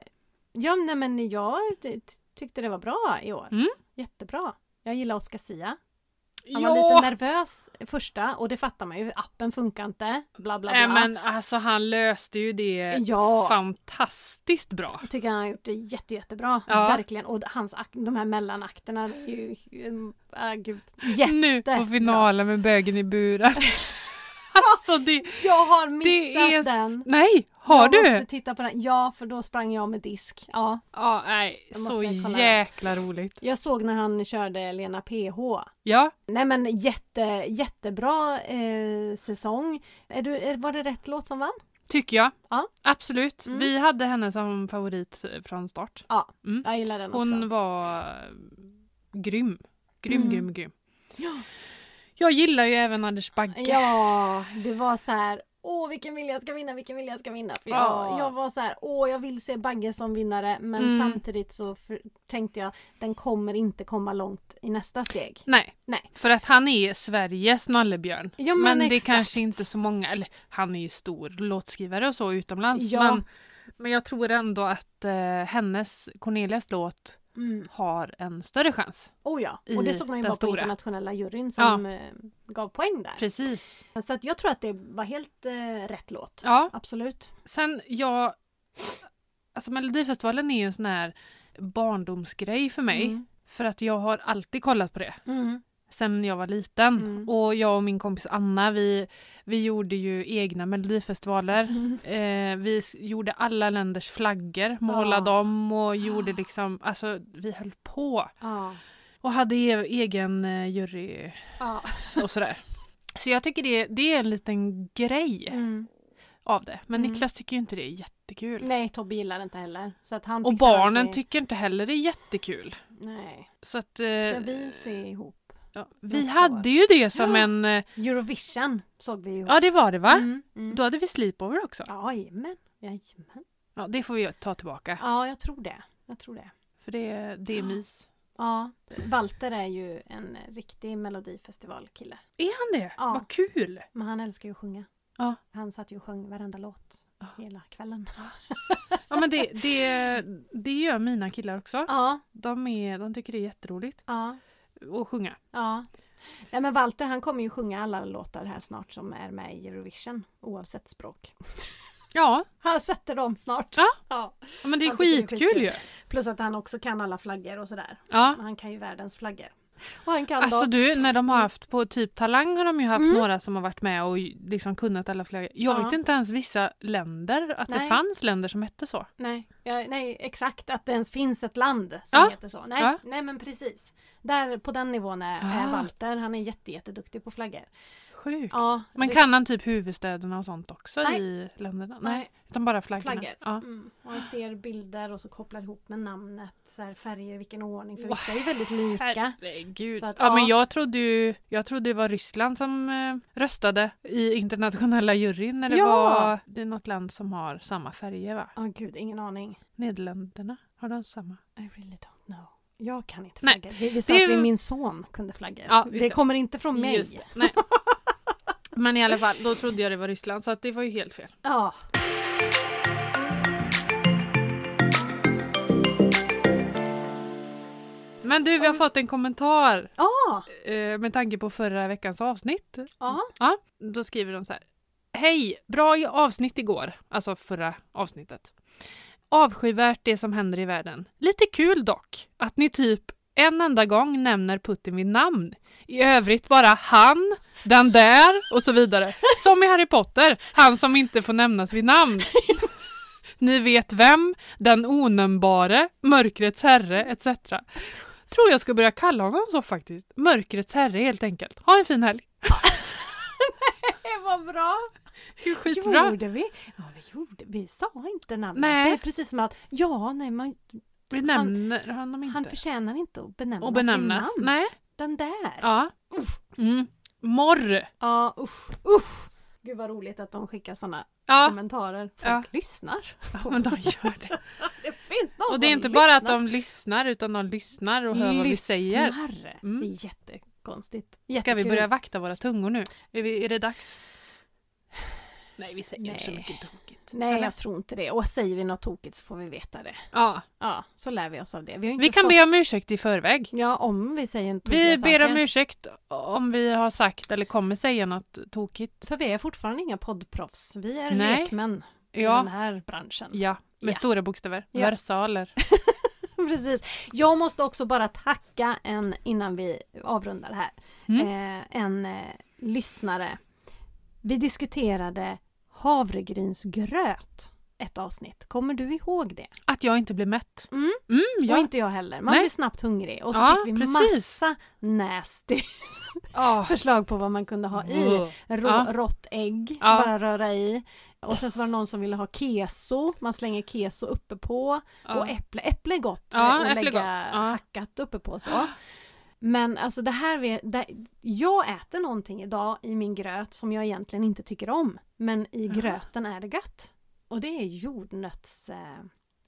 S1: Ja, nej, men jag ty- tyckte det var bra i år.
S2: Mm.
S1: Jättebra. Jag gillar Oscar Sia. Han
S2: Ja.
S1: var lite nervös första och det fattar man ju, appen funkar inte, bla bla bla.
S2: Nej men eh, alltså han löste ju det
S1: Ja.
S2: fantastiskt bra.
S1: Jag tycker han har gjort det jätte, jättebra.
S2: Ja.
S1: Verkligen. Och hans, ak- de här mellanakterna är ju... Äh, gud. Jätte.
S2: Nu på
S1: Jättebra.
S2: finalen med bögen i buren. alltså det,
S1: Jag har
S2: det
S1: missat
S2: är... s-
S1: den.
S2: Nej, har
S1: jag
S2: du?
S1: måste titta på den. Ja, för då sprang jag med disk. Ja.
S2: Ja, nej,
S1: Jag
S2: så
S1: måste kolla.
S2: jäkla roligt.
S1: Jag såg när han körde Lena PH.
S2: Ja,
S1: Nej men jätte, jättebra eh, säsong. Är du, är- var det rätt låt som vann?
S2: tycker jag.
S1: Ja.
S2: Absolut.
S1: Mm.
S2: Vi hade henne som favorit eh, från start.
S1: Jag gillar den
S2: Hon
S1: också.
S2: var eh, grym. Grym,
S1: Mm.
S2: grym, grym.
S1: Ja.
S2: Jag gillar ju även Anders Bagge.
S1: Ja, det var så här. Åh vilken vilja ska vinna, vilken vilja ska vinna. För jag,
S2: Ja.
S1: jag var så här, åh jag vill se Bagge som vinnare men
S2: Mm.
S1: samtidigt så för, tänkte jag den kommer inte komma långt i nästa steg.
S2: Nej.
S1: Nej.
S2: För att han är Sveriges nallebjörn.
S1: Ja, men
S2: det är
S1: exakt.
S2: kanske inte så många, eller han är ju stor låtskrivare och så utomlands.
S1: Ja.
S2: Men, men jag tror ändå att eh, hennes, Cornelias låt,
S1: Mm.
S2: har en större chans.
S1: Oh ja,
S2: I
S1: och det såg man ju
S2: den
S1: bara på
S2: stora.
S1: internationella juryn som eh, gav poäng där.
S2: Precis.
S1: Så att jag tror att det var helt eh, rätt låt.
S2: Ja,
S1: Absolut.
S2: sen jag... Alltså Melodifestivalen är ju en sån här barndomsgrej för mig.
S1: Mm.
S2: För att jag har alltid kollat på det.
S1: Mm.
S2: sen jag var liten.
S1: Mm.
S2: Och jag och min kompis Anna, vi, vi gjorde ju egna melodifestivaler.
S1: Mm.
S2: Eh, vi s- gjorde alla länders flaggor, målade
S1: Ja.
S2: dem och
S1: Ah.
S2: gjorde liksom, alltså vi höll på.
S1: Ja.
S2: Och hade e- egen eh, jury
S1: ja.
S2: och sådär. Så jag tycker det, det är en liten grej
S1: Mm.
S2: av det. Men
S1: Mm.
S2: Niklas tycker ju inte det är jättekul.
S1: Nej, Tobbe gillar det inte heller. Så att han
S2: Och
S1: fixar
S2: barnen
S1: alltid-
S2: tycker inte heller det är jättekul.
S1: Nej.
S2: Så att,
S1: Ska
S2: eh,
S1: vi se ihop?
S2: ja, vi
S1: nästa
S2: hade ju det som
S1: Ja.
S2: en... eh,
S1: Eurovision såg vi ihop.
S2: Ja, det var det va?
S1: Mm, mm.
S2: Då hade vi sleepover också.
S1: Ja, Jajamän. Jajamän.
S2: Ja, det får vi ta tillbaka.
S1: Ja, jag tror det. Jag tror det.
S2: För det, det är mys.
S1: Ja, Walter är ju en riktig melodifestivalkille.
S2: Är han det?
S1: Ja.
S2: Vad kul!
S1: Men han älskar ju att sjunga.
S2: Ja.
S1: Han satt ju och sjöng varenda låt
S2: Ja.
S1: hela kvällen.
S2: Ja, men det, det, det gör mina killar också.
S1: Ja,
S2: De, är, de tycker det är jätteroligt
S1: ja,
S2: att sjunga.
S1: ja. Nej men Walter han kommer ju sjunga alla låtar här snart som är med i Eurovision oavsett språk.
S2: Ja,
S1: Han sätter dem snart.
S2: Ja.
S1: ja.
S2: ja, men det är
S1: Han tycker det är
S2: skitkul ju.
S1: Plus att han också kan alla flaggor och sådär.
S2: Ja.
S1: Han kan ju världens flaggor. Och han kan
S2: Alltså
S1: då...
S2: du, när de har haft på typ Talang har de ju haft
S1: Mm.
S2: några som har varit med och liksom kunnat alla flaggor. Jag
S1: Ja.
S2: vet inte ens vissa länder, att det
S1: Nej.
S2: fanns länder som hette så.
S1: Nej, ja, nej, exakt att det ens finns ett land som
S2: Ja.
S1: heter så. Nej,
S2: Ja.
S1: nej men precis. Där, på den nivån är, är
S2: Ah.
S1: Walter. Han är jätte, jätteduktig på flaggor.
S2: Sjukt.
S1: Ja,
S2: Men
S1: det-
S2: kan han typ huvudstäderna och sånt också
S1: Nej.
S2: i länderna? Nej.
S1: Nej,
S2: Utan bara flaggorna?
S1: flaggor.
S2: Ja.
S1: Mm. Och han ser bilder och så kopplar ihop med namnet, så här, färger, vilken ordning. För vissa är ju väldigt lika.
S2: Herregud.
S1: Så att,
S2: ja,
S1: ja.
S2: men jag trodde ju jag trodde det var Ryssland som eh, röstade i internationella juryn när det
S1: Ja.
S2: var det är något land som har samma färger va?
S1: Ja, gud, ingen aning.
S2: Nederländerna, har de samma?
S1: I really don't know. Jag kan inte
S2: Nej,
S1: flaggor. Vi, vi sa
S2: det-
S1: att vi, min son kunde flaggor.
S2: Ja, just
S1: det,
S2: det.
S1: kommer inte från mig.
S2: Just det. Nej. Men i alla fall, då trodde jag det var Ryssland så att det var ju helt fel.
S1: Ja.
S2: Men du, vi har
S1: Om-
S2: fått en kommentar
S1: Ja.
S2: eh, med tanke på förra veckans avsnitt.
S1: Ja.
S2: Ja, då skriver de så här. Hej! Bra i avsnitt igår, alltså förra avsnittet. Avskyvärt det som händer i världen. Lite kul dock, att ni typ en enda gång nämner Putin vid namn. I övrigt bara han, den där och så vidare. Som i Harry Potter, han som inte får nämnas vid namn. Ni vet vem, den onämnbare, mörkrets herre etc. Tror jag ska börja kalla honom så faktiskt. Mörkrets herre helt enkelt. Ha en fin helg.
S1: Det var bra.
S2: Det är skitbra.
S1: Gjorde vi? Ja, vi gjorde. Vi sa inte namnet.
S2: Nej.
S1: Det är precis som att, ja, nej, man,
S2: Vi nämner honom inte.
S1: han förtjänar inte att benämnas,
S2: och benämnas.
S1: vid namn.
S2: Nej.
S1: Den där. Ja,
S2: Ja. Mm. Morr.
S1: usch, usch. Gud vad roligt att de skickar sådana
S2: Ja.
S1: kommentarer. Folk
S2: Ja.
S1: lyssnar.
S2: ja, men de gör
S1: Alltså,
S2: det.
S1: Det finns någon
S2: Och det är
S1: som
S2: inte bara att
S1: lyssnar.
S2: de lyssnar utan de lyssnar och hör vad vi säger.
S1: Lyssnar.
S2: Mm.
S1: Det är jättekonstigt.
S2: Ska vi
S1: Jättekul.
S2: börja vakta våra tungor nu? Är, vi, är det dags? Nej, vi säger inte så
S1: Nej.
S2: mycket tokigt.
S1: Nej,
S2: Eller?
S1: jag tror inte det. Och säger vi något tokigt så får vi veta det.
S2: Ja,
S1: Ja, så lär vi oss av det. Vi, har inte
S2: vi kan
S1: fått...
S2: be om ursäkt i förväg.
S1: Ja, om vi säger en
S2: Vi
S1: tokiga
S2: ber om
S1: saker.
S2: ursäkt om vi har sagt eller kommer säga något tokigt.
S1: För vi är fortfarande inga poddproffs. Vi är
S2: Nej.
S1: lekmän i den
S2: Ja,
S1: här branschen.
S2: ja med
S1: Mm. Ja.
S2: stora bokstäver.
S1: Ja.
S2: Versaler.
S1: Precis. Jag måste också bara tacka en, innan vi avrundar här,
S2: Mm.
S1: eh, en eh, lyssnare. Vi diskuterade havregrynsgröt ett avsnitt. Kommer du ihåg det?
S2: Att jag inte blir mätt.
S1: Mm.
S2: Mm,
S1: Och
S2: ja.
S1: inte jag heller. Man
S2: Nej.
S1: blir snabbt hungrig. Och så
S2: Ja,
S1: fick vi
S2: precis.
S1: massa nasty
S2: Åh,
S1: förslag på vad man kunde ha i.
S2: ugh.
S1: Rå,
S2: Ja.
S1: Rått ägg,
S2: Ja.
S1: bara röra i. Och sen så var det någon som ville ha keso, man slänger keso uppe på. Och
S2: Ja.
S1: äpple, äpple är gott
S2: Ja,
S1: eh, att
S2: äpple är
S1: lägga
S2: gott. Ja. Ah.
S1: hackat uppe på så. Men alltså det här, vi- det, jag äter någonting idag i min gröt som jag egentligen inte tycker om. Men i
S2: Jaha.
S1: gröten är det gött. Och det är jordnöts... Eh,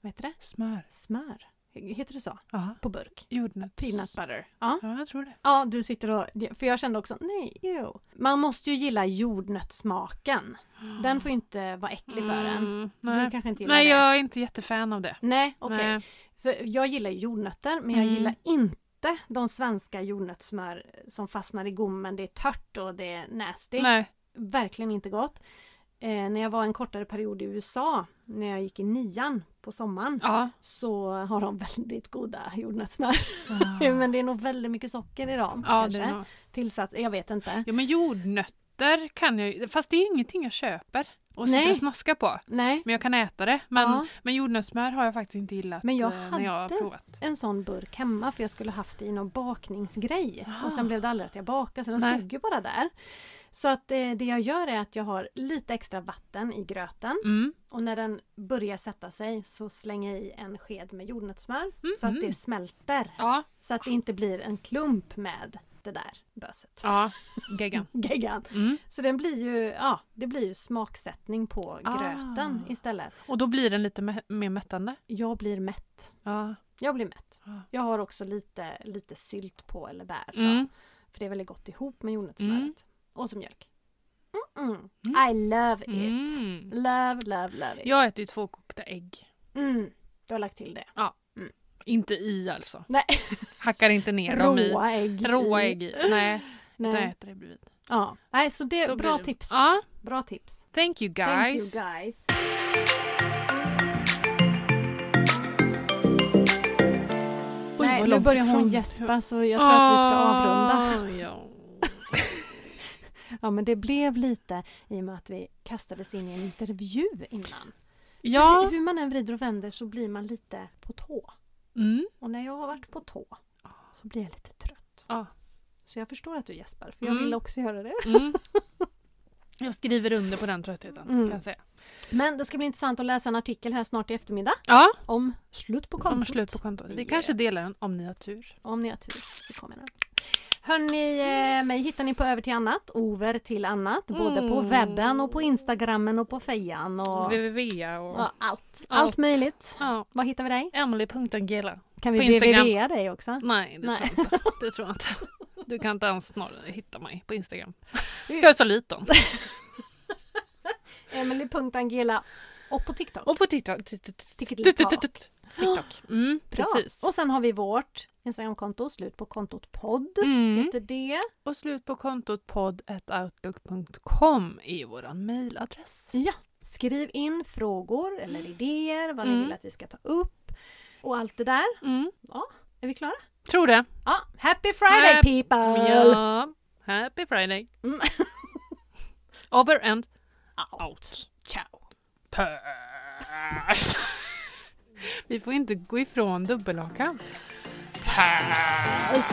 S1: vad heter det?
S2: Smör.
S1: Smör? Heter det så?
S2: Ja.
S1: På burk?
S2: Jordnöts.
S1: Peanut butter. Ja.
S2: Ja, jag tror det.
S1: Ja, du sitter och... För jag kände också, nej, ew. Man måste ju gilla jordnötssmaken. Den får ju inte vara äcklig för en.
S2: Mm,
S1: Du
S2: nej.
S1: kanske inte gillar
S2: nej,
S1: det?
S2: jag är inte jättefan av det.
S1: Nej, okej.
S2: Nej.
S1: För jag gillar ju jordnötter, men jag
S2: Mm.
S1: gillar inte de svenska jordnötssmör som fastnar i gommen. Det är tört och det är nasty.
S2: Nej.
S1: Verkligen inte gott. Eh, när jag var en kortare period i USA, när jag gick i nian på sommaren,
S2: Ja.
S1: så har de väldigt goda jordnötssmör. men det är nog väldigt mycket socker i dem.
S2: Ah. Ja, det
S1: kanske.
S2: är nog.
S1: Tillsats, jag vet inte.
S2: Ja, men jordnötter kan jag ju- fast det är ingenting jag köper och sitter
S1: Nej.
S2: och snaskar på.
S1: Nej.
S2: Men jag kan äta det. Men,
S1: Ja.
S2: men jordnötssmör har jag faktiskt inte gillat
S1: Men jag
S2: eh, när jag har
S1: hade-
S2: provat.
S1: en sån burk hemma för jag skulle haft det i någon bakningsgrej.
S2: Ah.
S1: Och sen blev det aldrig att jag bakade så den
S2: Nej.
S1: stod ju bara där. Så att eh, det jag gör är att jag har lite extra vatten i gröten
S2: Mm.
S1: och när den börjar sätta sig så slänger jag i en sked med jordnötssmör så att det
S2: Mhm.
S1: smälter.
S2: Ja.
S1: Så att det inte blir en klump med det där böset.
S2: ja, geggan.
S1: Geggan.
S2: Mm.
S1: Så den blir ju, ja, det blir ju smaksättning på
S2: Ah.
S1: gröten istället.
S2: Och då blir den lite mä- mer mättande.
S1: Jag blir mätt.
S2: Ja.
S1: Jag blir mätt.
S2: Ah.
S1: Jag har också lite, lite sylt på eller bär. då.
S2: Mm.
S1: För det är väldigt gott ihop med jordnötssmöret.
S2: Mm.
S1: Och som mjölk. Mm-mm.
S2: Mm.
S1: I love it!
S2: Mm.
S1: Love, love, love it!
S2: Jag äter ju två kokta ägg.
S1: Mm. Du har lagt till det.
S2: Inte i alltså.
S1: Nej.
S2: Hackar inte ner dem i.
S1: Råa ägg.
S2: Råa
S1: i.
S2: ägg i. Nej, utan jag
S1: Nej.
S2: äter det bredvid.
S1: Ja. Nej, så det
S2: Då
S1: är bra
S2: blir det-
S1: tips.
S2: Ja,
S1: Bra tips.
S2: thank you guys.
S1: Thank you guys.
S2: Oj,
S1: Nej,
S2: vad
S1: nu
S2: långt
S1: börjar hon
S2: ifrån.
S1: gäspa så jag tror att vi ska avrunda.
S2: Ah, ja.
S1: Ja men det blev lite i och med att vi kastades in i en intervju innan.
S2: Ja.
S1: Hur man än vrider och vänder så blir man lite på tå.
S2: Mm.
S1: Och när jag har varit på tå så blir jag lite trött.
S2: Ja.
S1: Så jag förstår att du gäspar, för jag
S2: Mm.
S1: vill också göra det.
S2: Mm. Jag skriver under på den tröttheten
S1: Mm.
S2: kan jag säga.
S1: Men det ska bli intressant att läsa en artikel här snart i eftermiddag
S2: Ja,
S1: om slut på kontot.
S2: om slut på kontot. Vi kanske delar den om ni har tur.
S1: Om ni har tur så kommer den. Hörni, eh, mig hittar ni på Över till annat, Over till annat, både på
S2: Mm.
S1: webben och på Instagrammen och på fejan och,
S2: www och...
S1: ja, allt. Allt
S2: Allt.
S1: möjligt.
S2: Ja.
S1: Var hittar vi dig?
S2: Emily.angela.
S1: Kan vi
S2: På Instagram.
S1: BVVa dig också?
S2: Nej, det,
S1: Nej.
S2: Tror jag inte. det tror jag inte. Du kan inte ens snarare hitta mig på Instagram. Jag är så liten.
S1: Emily.angela och på TikTok.
S2: Och på TikTok.
S1: Tickety-tack.
S2: TikTok. Mm,
S1: Bra.
S2: precis.
S1: Och sen har vi vårt Instagramkonto, slut på kontot podd.
S2: Mm.
S1: Heter det.
S2: Och slut på kontot podd.outlook.com är vår mejladress.
S1: Ja, skriv in frågor eller idéer, vad ni
S2: Mm.
S1: vill att vi ska ta upp och allt det där.
S2: Mm.
S1: Är vi klara?
S2: Tror det.
S1: Ja, happy friday
S2: Happy-
S1: people!
S2: Ja. Happy Friday.
S1: Mm.
S2: Over and
S1: Au,
S2: out.
S1: ciao!
S2: Pös. Vi får inte gå ifrån dubbelhakan. Pös.